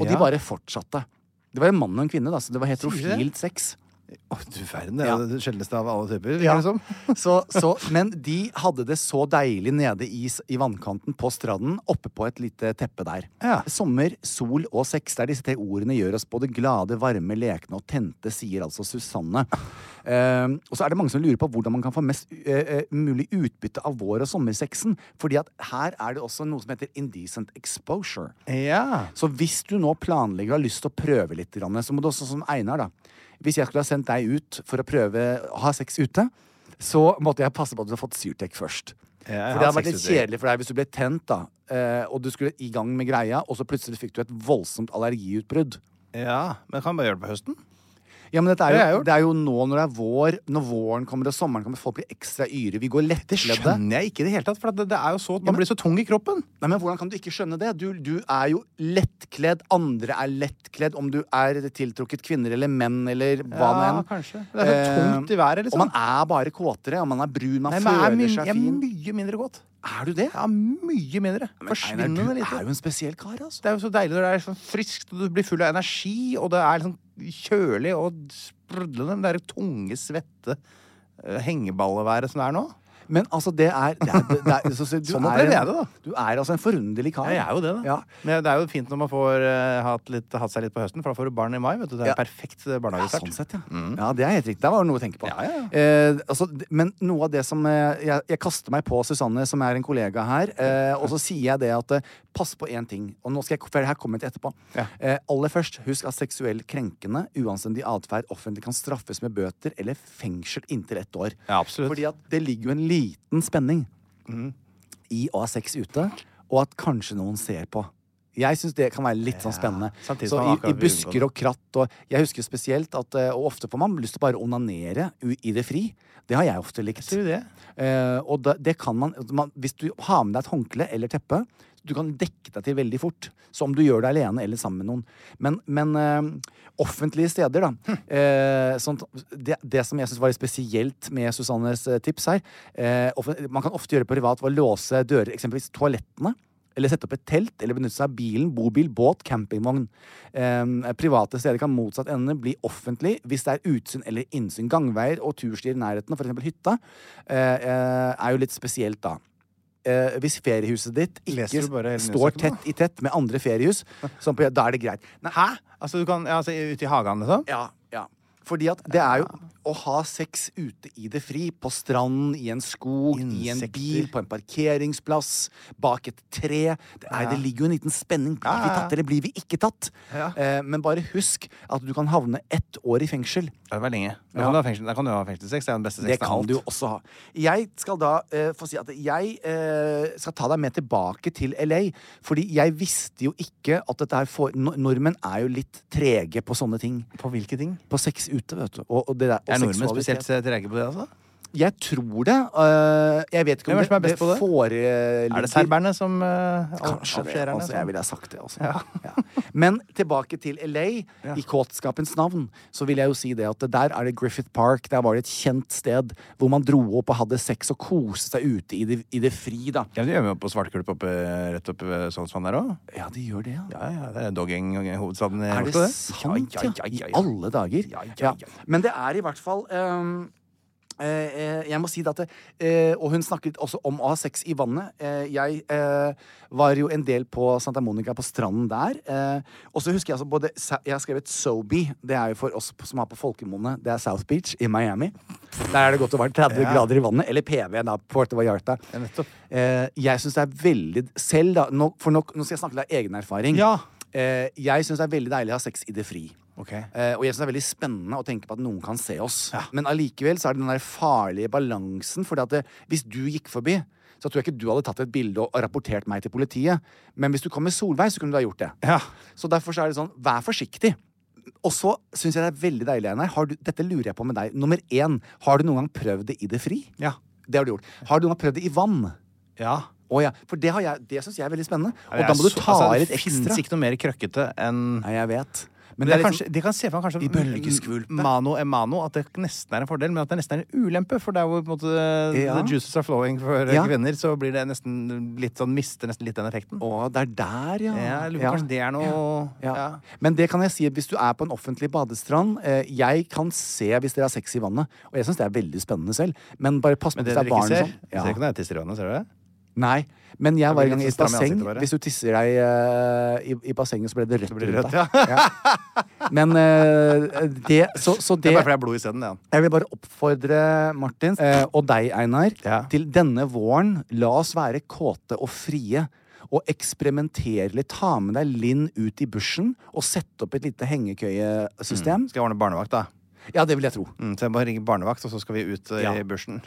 Og Ja. de bare fortsatte. Det var en mann og en kvinne, da, så det var heterofilt sex. Å, du verden, det er Ja. jo det sjeldneste av alle typer. virker Ja. det som. Så, så, men de hadde det så deilig nede i, s- i vannkanten på stranden, oppe på et lite teppe der. Ja. Sommer, sol og sex, der disse tre ordene gjør oss både glade, varme, lekne og tente, sier altså Susanne. Ehm, og så er det mange som lurer på hvordan man kan få mest eh, eh, mulig utbytte av vår- og sommersexen. Fordi at her er det også noe som heter indecent exposure. Ja. Så hvis du nå planlegger og har lyst til å prøve litt, grann, så må du også som Einar, da. Hvis jeg skulle ha sendt deg ut for å prøve å ha sex ute, så måtte jeg passe på at du har fått Syrtec først. jeg for det har hadde vært litt sex ute. kjedelig for deg hvis du ble tent, da, eh, og du skulle i gang med greia, og så plutselig fikk du et voldsomt allergiutbrudd. ja. Men kan man bare gjøre det på høsten? Ja, men dette Det har er jeg jo, gjort. det er jo nå når det er vår, når våren kommer og sommeren kommer, folk blir ekstra yre. Vi går lettkledde. Skjønner jeg ikke i det hele tatt, for det, det er jo så, man blir så tung i kroppen. Nei, men Hvordan kan du ikke skjønne det? Du, du er jo lettkledd. Andre er lettkledd. Om du er tiltrukket kvinner eller menn eller hva nå enn. kanskje. Det er så Eh, tungt i været, liksom. Og man er bare kåtere. Og man er brun, man Nei, men jeg er, føler mye- seg jeg er fin. mye mindre godt. Er du det? Ja, mye mindre. Forsvinnende Einar, du er lite. jo en spesiell kar, altså. Det er jo så deilig når det er sånn friskt, og du blir full av energi, og det er liksom kjølig og sprudlende. men Det er tunge, svette eh, hengeballeværet som det er nå. Men altså, det er, det er, det er så, så, du Sånn er opplever en- jeg det, da. Du er altså en forunderlig kar. Ja. Men det er jo fint når man får eh, hatt, litt, hatt seg litt på høsten, for da får du barn i mai. vet du. Det er Ja. perfekt eh, Ja, barnehagestart. sånn sett, ja. ja. Det er helt riktig. Det var det noe å tenke Mm. på. Ja, ja, ja. Eh, altså, d- men noe av det som eh, jeg, jeg kaster meg på Susanne, som er en kollega her, eh, og så sier jeg det at eh, pass på én ting, og nå skal jeg, for det her kommer jeg til etterpå. Ja. Eh, aller først, husk at seksuell krenkende, uanstendig atferd offentlig kan straffes med bøter eller fengsel inntil ett år. Ja, absolutt. Mm. Fordi at det ligger jo en liten spenning i å ha sex ute, og at kanskje noen ser på. Jeg syns det kan være litt sånn spennende. samtidig så som i, man akkurat vil unngå i det. busker og kratt og Jeg husker spesielt at eh, Og ofte får man lyst til å bare å onanere u- i det fri. Det har jeg ofte likt. Sier du det? Eh, og da, det kan man, man Hvis du har med deg et håndkle eller teppe, du kan dekke deg til veldig fort. Som om du gjør det alene eller sammen med noen. Men, men eh, offentlige steder, da. eh, sånt, det, det som jeg syns var litt spesielt med Susannes eh, tips her eh, offen- Man kan ofte gjøre det privat ved å låse dører, eksempelvis toalettene. Eller sette opp et telt, eller benytte seg av bilen, bobil, båt, campingvogn. Eh, private steder kan motsatt ende bli offentlig hvis det er utsyn eller innsyn. Gangveier og turstier i nærheten, f.eks. hytta, eh, eh, er jo litt spesielt da. Eh, hvis feriehuset ditt ikke Leser du bare hele står nyhetssaken, da? tett i tett med andre feriehus, sånn på, da er det greit. Nei, hæ? Altså, du kan, ja, altså Ute i hagen, liksom? Ja, ja. Fordi at det er jo å ha sex ute i det fri, på stranden, i en skog, i en Insekter. bil, på en parkeringsplass, bak et tre det, Nei, det ligger jo en liten spenning. Blir vi tatt, eller blir vi ikke tatt? Ja. Eh, men bare husk at du kan havne ett år i fengsel. Ja, Det var lenge. Da kan du ha fengsel- da kan du ha fengselssex. Det er den beste sexen Det av kan alt. du jo også ha. Jeg skal da eh, få si at jeg eh, skal ta deg med tilbake til LA. Fordi jeg visste jo ikke at dette her for... Nor- Nordmenn er jo litt trege på sånne ting. På hvilke ting? På sex ute, vet du. Og, og det der, og Er nordmenn seksualitet. spesielt trege på det? altså? Jeg tror det. øh, jeg vet ikke Hvem er om det som er best på det? foreligger Er det serberne som uh, Kanskje det. Altså, jeg ville ha sagt det. Altså. sånn. Ja. Ja. Men tilbake til LA. I kåtskapens navn så vil jeg jo si det at der er det Griffith Park. Der var det et kjent sted hvor man dro opp og hadde sex og koste seg ute i det, i det fri, da. Ja, De gjør meg på svartkulp oppe, rett oppe ved Sognsvann der òg. Ja, de gjør det, ja. Ja, ja, det er dogging-hovedstaden i Er Oslo, det sant, eh, Ja, ja? ja, ja, I ja, ja. alle dager. Ja, ja, Ja. ja. Men det er i hvert fall ehm, eh, eh, Jeg må si det at det, eh, Og hun snakket også om å ha sex i vannet. Eh, jeg eh, var jo en del på Santa Monica, på stranden der. Eh, og så husker jeg altså både Sa- Jeg har skrevet Sobe. Det er jo for oss på- som er på folkemunne. Det er South Beach i Miami. Der er det godt og varmt. 30 grader i vannet. Eller PV, da, på Puerto Vallarta. nettopp. Eh, jeg syns det er veldig Selv, da. Nå, for nå, nå skal jeg snakke litt av egen erfaring. Ja. Eh, jeg syns det er veldig deilig å ha sex i det fri. Ok. Eh, og jeg synes det er veldig spennende å tenke på at noen kan se oss. Men allikevel så er det den der farlige balansen. For det, hvis du gikk forbi, så tror jeg ikke du hadde tatt et bilde og og rapportert meg til politiet. Men hvis du kom med Solveig, så kunne du ha gjort det. Ja. Så derfor så er det sånn, vær forsiktig. Og så syns jeg det er veldig deilig, Einar. Har du- Dette lurer jeg på med deg. Nummer én, har du noen gang prøvd det i det fri? Ja. Det har du gjort. Har du noen gang prøvd det i vann? ja. Å ja. For det, har jeg- det syns jeg er veldig spennende. Og Jeg da må du så- ta altså, i litt Det fins ekstra. ikke noe mer krøkkete enn Nei, jeg vet. Men Det, det er kanskje, liksom- de kan se for meg kanskje I bølgeskvulpet. Mm, mano e mano, at det nesten er en fordel, men at det nesten er en ulempe. For der hvor på en måte, Ja. the juices are flowing for eh, Ja. kvinner, så blir det nesten litt sånn, mister nesten litt den effekten. Å, det er der, ja. Ja, jeg lurer på Ja. Kanskje det er noe Ja. ja. Men det kan jeg si at hvis du er på en offentlig badestrand eh, Jeg kan se hvis dere har sex i vannet. Og jeg syns det er veldig spennende selv. Men bare pass på Men hvis det dere det er ikke barn og ser sånn. Ser dere ikke når jeg tisser i vannet? Ser dere det? Nei, men jeg var blir en gang i litt et stram i basseng. ansiktet bare. Hvis du tisser deg eh, i, i bassenget, så ble det rødt. blir det rundt rødt, deg. Ja. Men eh, det Så, så Det det er bare fordi det er blod i stedet. Ja. Jeg vil bare oppfordre Martin eh, og deg, Einar, Ja. til denne våren. La oss være kåte og frie. Og eksperimentere litt. Ta med deg Linn ut i bushen og sette opp et lite hengekøyesystem. Mm. Skal jeg ordne barnevakt, da? Ja, det vil jeg tro. Mm, så jeg bare ringer barnevakt, og så skal vi ut eh, Ja. i bushen.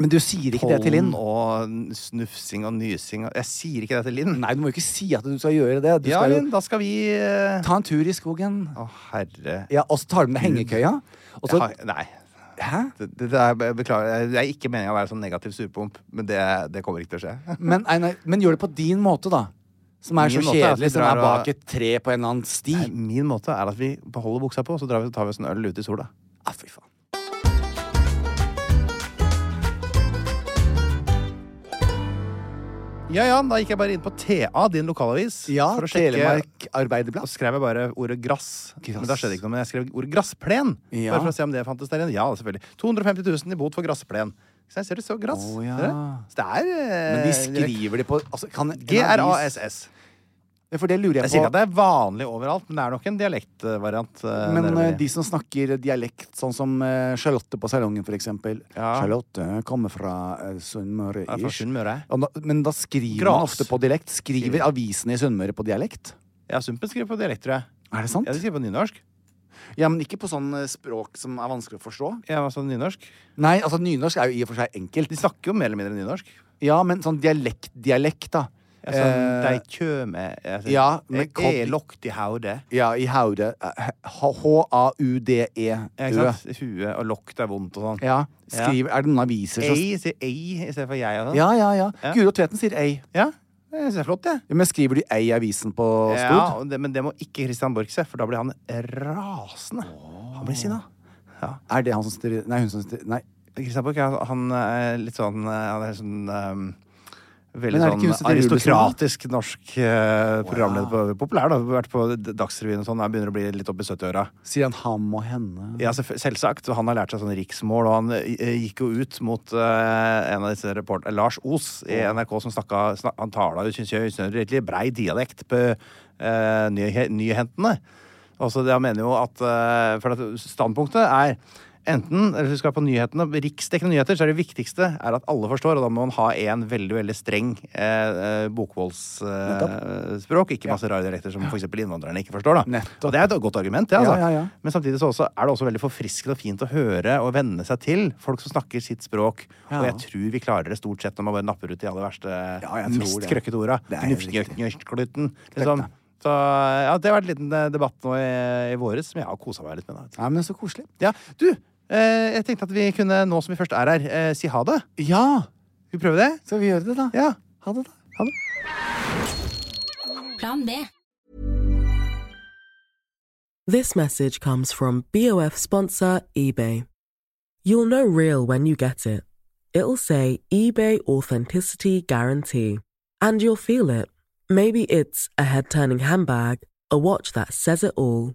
Men du sier ikke det til Linn. Pollen og snufsing og nysing og Jeg sier ikke det til Linn. Nei, du må jo ikke si at du skal gjøre det. Du Ja, skal jo Linn, da skal vi eh, ta en tur i skogen. Å, herre Ja, og så tar du med hengekøya. Og så Jeg har- Nei. Hæ? Det, det, det er, jeg beklager. Det er ikke meninga å være sånn negativ surpomp, men det, det kommer ikke til å skje. Men, Einar, men gjør det på din måte, da. Som er Min så måte er at vi kjedelig, som drar er og- bak et tre på en eller annen sti. Nei, Min måte er at vi beholder buksa på, og så drar vi og tar vi oss en øl ute i sola. Ah, fy faen. Ja, ja, da gikk jeg bare inn på TA, din lokalavis, Ja, for å sjekke. Telemark Og Arbeiderblad. skrev jeg bare ordet grass. Grass. Men da skjedde ikke noe, men jeg skrev ordet gressplen. Ja. Bare for å se om det fantes der igjen. Ja, selvfølgelig. 250 000 i bot for gressplen. Så jeg ser det så grass. Å, ja. Ser dere? Så det er eh, Men de skriver det på altså, kan, en avis- GRASS. For det Jeg lurer jeg sier ikke på. at det er vanlig overalt, men det er nok en dialektvariant. eh, Men nedover eh, i- de som snakker dialekt, sånn som eh, Charlotte på salongen, for eksempel. Ja. Charlotte kommer fra uh, Sunnmøre. Ja, fra ish. Sunnmøre. Og da- Men da skriver Gras. man ofte på dialekt. Skriver avisene i Sunnmøre på dialekt? Ja, Sumpen skriver på dialekt, tror jeg. Er det Ja, de sant? skriver på nynorsk. Ja, men ikke på sånn eh, språk som er vanskelig å forstå. Ja, altså nynorsk. Nei, altså nynorsk er jo i og for seg enkelt. De snakker jo mer eller mindre nynorsk. sånn- Ja, men sånn dialekt-dialekt, da. Jeg sa, Eh, de kjøme altså, ja, men Jeg kod- er lokt i hodet. ja, i Haude. eh, Ja, H-a-u-d-e-ø. ikke sant? Huet og lokt er vondt og sånn. Ja. Skriver, Er det noen aviser som Ei sier ei istedenfor jeg og sånn. Ja, ja, ja. Ja. Guro Tveten sier ei. Ja, det synes jeg er flott, det. Ja, Men skriver de ei i avisen på Ja, Stord? og det. Men det må ikke Christian Borch se, for da blir han rasende. Han blir sinna. Er det han som styrer Nei, hun som styrer Nei. Christian Borch han, han er litt sånn eh, Han er sånn ehm, Veldig Men er det ikke sånn Huset til Julius nå? aristokratisk norsk eh, programleder. På, populær, da. Vært på D- Dagsrevyen og sånn. Han begynner å bli litt opp i 70-åra. Sier han ham og henne? Ja, selvf- selvsagt. Han har lært seg sånn riksmål, og han eh, gikk jo ut mot eh, en av disse reporterne, Lars Os i NRK, som snakka snak, Han tala jo synes jeg, synes jeg, egentlig brei dialekt på eh, nyhe- nyhetene. Altså, det han mener jo at eh, For at standpunktet er Enten eller hvis du skal på nyhetene, riksdekkende nyheter, så er det viktigste er at alle forstår, og da må man ha en veldig veldig streng eh, bokmålsspråk. ikke masse rare dialekter som f.eks. innvandrerne ikke forstår. da. Nettopp. Og det er et godt argument, det. Altså. Ja, ja, ja. Men samtidig så også, er det også veldig forfriskende og fint å høre og venne seg til folk som snakker sitt språk. Ja. Og jeg tror vi klarer det stort sett når man bare napper ut de aller verste, jeg tror mest det. krøkkete orda. Det er helt Knufsgnørsklytten. Liksom. Så ja, det har vært en liten eh, debatt nå i, i våres som jeg har kosa meg litt med. Da. Nei, men så koselig. Ja, du, eh, jeg tenkte at vi kunne, nå som vi først er her, eh, si ha det. Ja! Skal vi prøve det? Skal vi gjøre det, da? Ja. Ha det, da. Ha det. This message comes from BOF sponsor eBay. You'll know real when you get it. It'll say eBay Authenticity Guarantee. And you'll feel it. Maybe it's a head turning handbag, a watch that says it all,